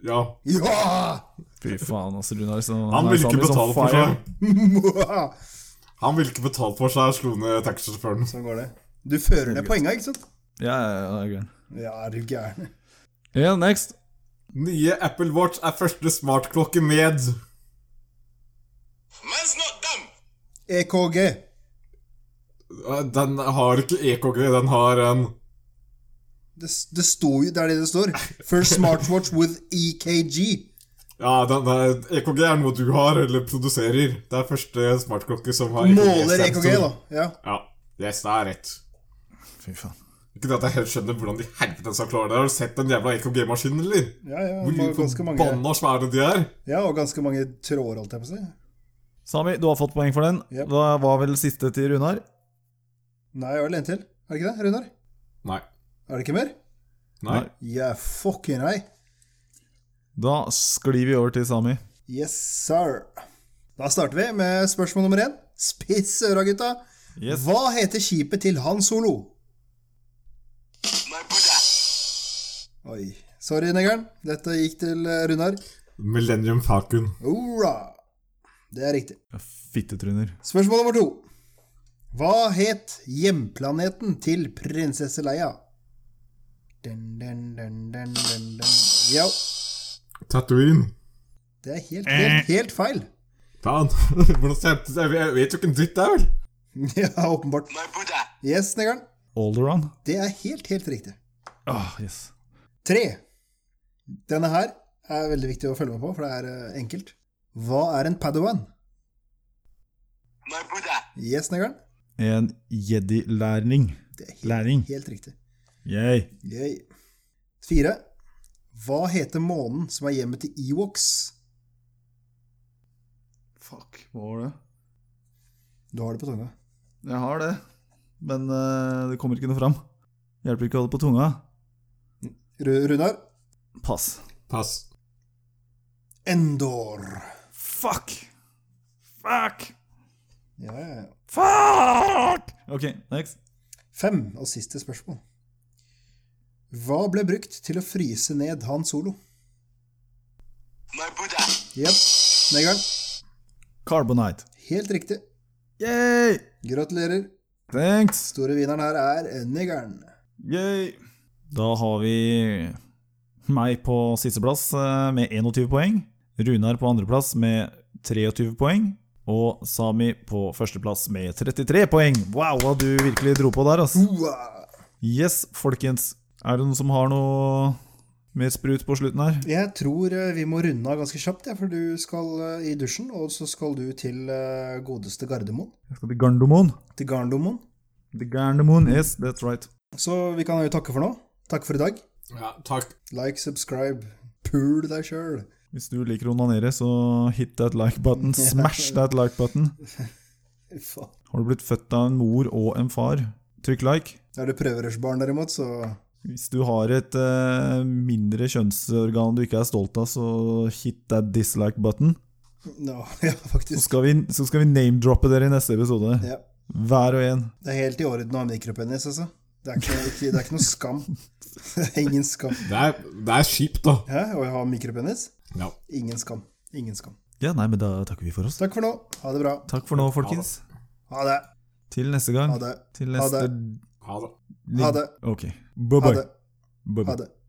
Speaker 2: Ja.
Speaker 3: Ja!
Speaker 1: Fy faen, altså, Runar. så-
Speaker 2: Han
Speaker 1: er
Speaker 2: ville
Speaker 1: sami
Speaker 2: ikke
Speaker 1: som
Speaker 2: betale for
Speaker 1: fire.
Speaker 2: seg. Han ville ikke betale for seg, slo ned taxisjåføren.
Speaker 3: Sånn går det. Du fører ned poenga, ikke sant?
Speaker 1: Ja, ja, ja, det er gøy.
Speaker 3: Ja, er du gæren.
Speaker 1: Ja, next.
Speaker 2: Nye Apple Watch er første smartklokke med
Speaker 6: Man's not dumb.
Speaker 3: EKG.
Speaker 2: Eh, Den har ikke EKG, den har en
Speaker 3: Det, det står jo Det er det det står. First smartwatch with E EKG.
Speaker 2: Ja, den, E den, EKG er noe du har, eller produserer. Det er første smartklokke som har E
Speaker 3: Måler
Speaker 2: EKG
Speaker 3: EKG,
Speaker 2: -sensor.
Speaker 3: da. Ja.
Speaker 2: Ja. Yes, det er rett.
Speaker 1: Fy faen.
Speaker 2: Ikke det at jeg helt skjønner hvordan de helvete skal klare det. Har du sett den jævla EKG-maskinen, eller?
Speaker 3: Ja, ja, det var
Speaker 2: Hvor
Speaker 3: ganske mange,
Speaker 2: forbanna svære de er.
Speaker 3: ja, og ganske mange tråder, holdt jeg på å si.
Speaker 1: Sami, du har fått poeng for den.
Speaker 3: Yep.
Speaker 1: Da var vel siste til Runar.
Speaker 3: Nei, jeg har vel en til. Er det ikke det, Runar?
Speaker 2: Nei.
Speaker 3: Er det ikke mer?
Speaker 2: Nei.
Speaker 3: Yeah, fucking right.
Speaker 1: Da sklir vi over til Sami.
Speaker 3: Yes, sir. Da starter vi med spørsmål nummer én. Spiss øra, gutta.
Speaker 1: Yes.
Speaker 3: Hva heter skipet til Han Solo?
Speaker 7: My Buddha.
Speaker 3: Oi. Sorry, negeren. Dette gikk til eh, Runar.
Speaker 2: Millennium Falcon.
Speaker 3: Hurra! Det er riktig.
Speaker 1: Fittetryner.
Speaker 3: Spørsmål nummer to. Hva het hjemplaneten til prinsesse Leia? Dun, dun, dun, dun, dun, dun. Ja,
Speaker 2: Tatooine.
Speaker 3: det er helt, helt, helt feil.
Speaker 2: Faen. Hvordan ser jeg- jeg jeg vet jo ikke en dritt der, vel?
Speaker 3: Ja, åpenbart.
Speaker 7: My Buddha.
Speaker 3: Yes, negeren.
Speaker 1: Alderon.
Speaker 3: Det er helt, helt riktig.
Speaker 1: Ah, yes.
Speaker 3: Tre. Denne her er veldig viktig å følge med på, for det er eh, enkelt. Hva er en padawan?
Speaker 7: My Buddha.
Speaker 3: Yes, negeren.
Speaker 1: En jedi-lærning.
Speaker 3: Det er helt,
Speaker 1: Læring.
Speaker 3: helt riktig.
Speaker 1: Yay.
Speaker 3: Yay. Fire. Hva heter månen som er hjemmet til Ewoks?
Speaker 1: Fuck, hva var det?
Speaker 3: Du har det på tunga.
Speaker 1: Jeg har det, men eh, det kommer ikke noe fram. Hjelper ikke å holde på tunga.
Speaker 3: Ru- Runar?
Speaker 1: Pass.
Speaker 2: Pass.
Speaker 3: Endor.
Speaker 1: Fuck! Fuck!
Speaker 3: Ja, ja, ja.
Speaker 1: Fuck! Ok, next.
Speaker 3: Fem, og siste spørsmål. Hva ble brukt til å fryse ned Han Solo?
Speaker 7: My Buddha.
Speaker 3: Jepp. Negeren.
Speaker 1: Carbonite.
Speaker 3: Helt riktig.
Speaker 1: Yay!
Speaker 3: Gratulerer.
Speaker 1: Thanks!
Speaker 3: Store vinneren her er Negeren.
Speaker 1: Yay! Da har vi meg på sisteplass eh, med 21 poeng, Runar på andreplass med 23 poeng, og Sami på førsteplass med 33 poeng. Wow, hva du virkelig dro på der, ass.
Speaker 3: Hua!
Speaker 1: Yes, folkens. Er det noen som har noe mer sprut på slutten her?
Speaker 3: Jeg tror eh, vi må runde av ganske kjapt, ja, for du skal eh, i dusjen, og så skal du til eh, godeste Gardermoen.
Speaker 1: Jeg skal til Gardermoen.
Speaker 3: Til Garndomoen.
Speaker 1: Til Gardermoen, yes, that's right.
Speaker 3: Så vi kan jo takke for nå. Takk for i dag.
Speaker 2: Ja, takk.
Speaker 3: Like, subscribe, pool deg sjøl.
Speaker 1: Hvis du liker å onanere, så hit that like button. Smash that like button.
Speaker 3: Faen.
Speaker 1: Har du blitt født av en mor og en far? Trykk like.
Speaker 3: Er du prøverørsbarn derimot, så
Speaker 1: Hvis du har et eh, mindre kjønnsorgan du ikke er stolt av, så hit that dislike button.
Speaker 3: no, Ja,
Speaker 1: Så
Speaker 3: faktisk.
Speaker 1: skal vi, så skal vi name-droppe dere i neste episode.
Speaker 3: Ja.
Speaker 1: Hver og en.
Speaker 3: Det er helt i orden å ha mikropenis, altså. Det er ikke, ikke, det er ikke noe skam. Det er ingen skam.
Speaker 2: Det er, det er kjipt, da.
Speaker 3: Hæ? Å ha mikropenis?
Speaker 2: Ja.
Speaker 3: Ingen skam. Ingen skam.
Speaker 1: Ja, nei, men da takker vi for oss.
Speaker 3: Takk for nå. Ha det bra.
Speaker 1: Takk for nå, folkens.
Speaker 3: Ha det.
Speaker 1: Til neste gang.
Speaker 3: Ha det.
Speaker 1: Til
Speaker 3: Ha
Speaker 1: neste
Speaker 2: Ha det.
Speaker 3: Ha det.
Speaker 1: Ok.
Speaker 3: Ha
Speaker 1: Bye-bye.
Speaker 3: det.
Speaker 1: Bye-bye.
Speaker 3: Ha det.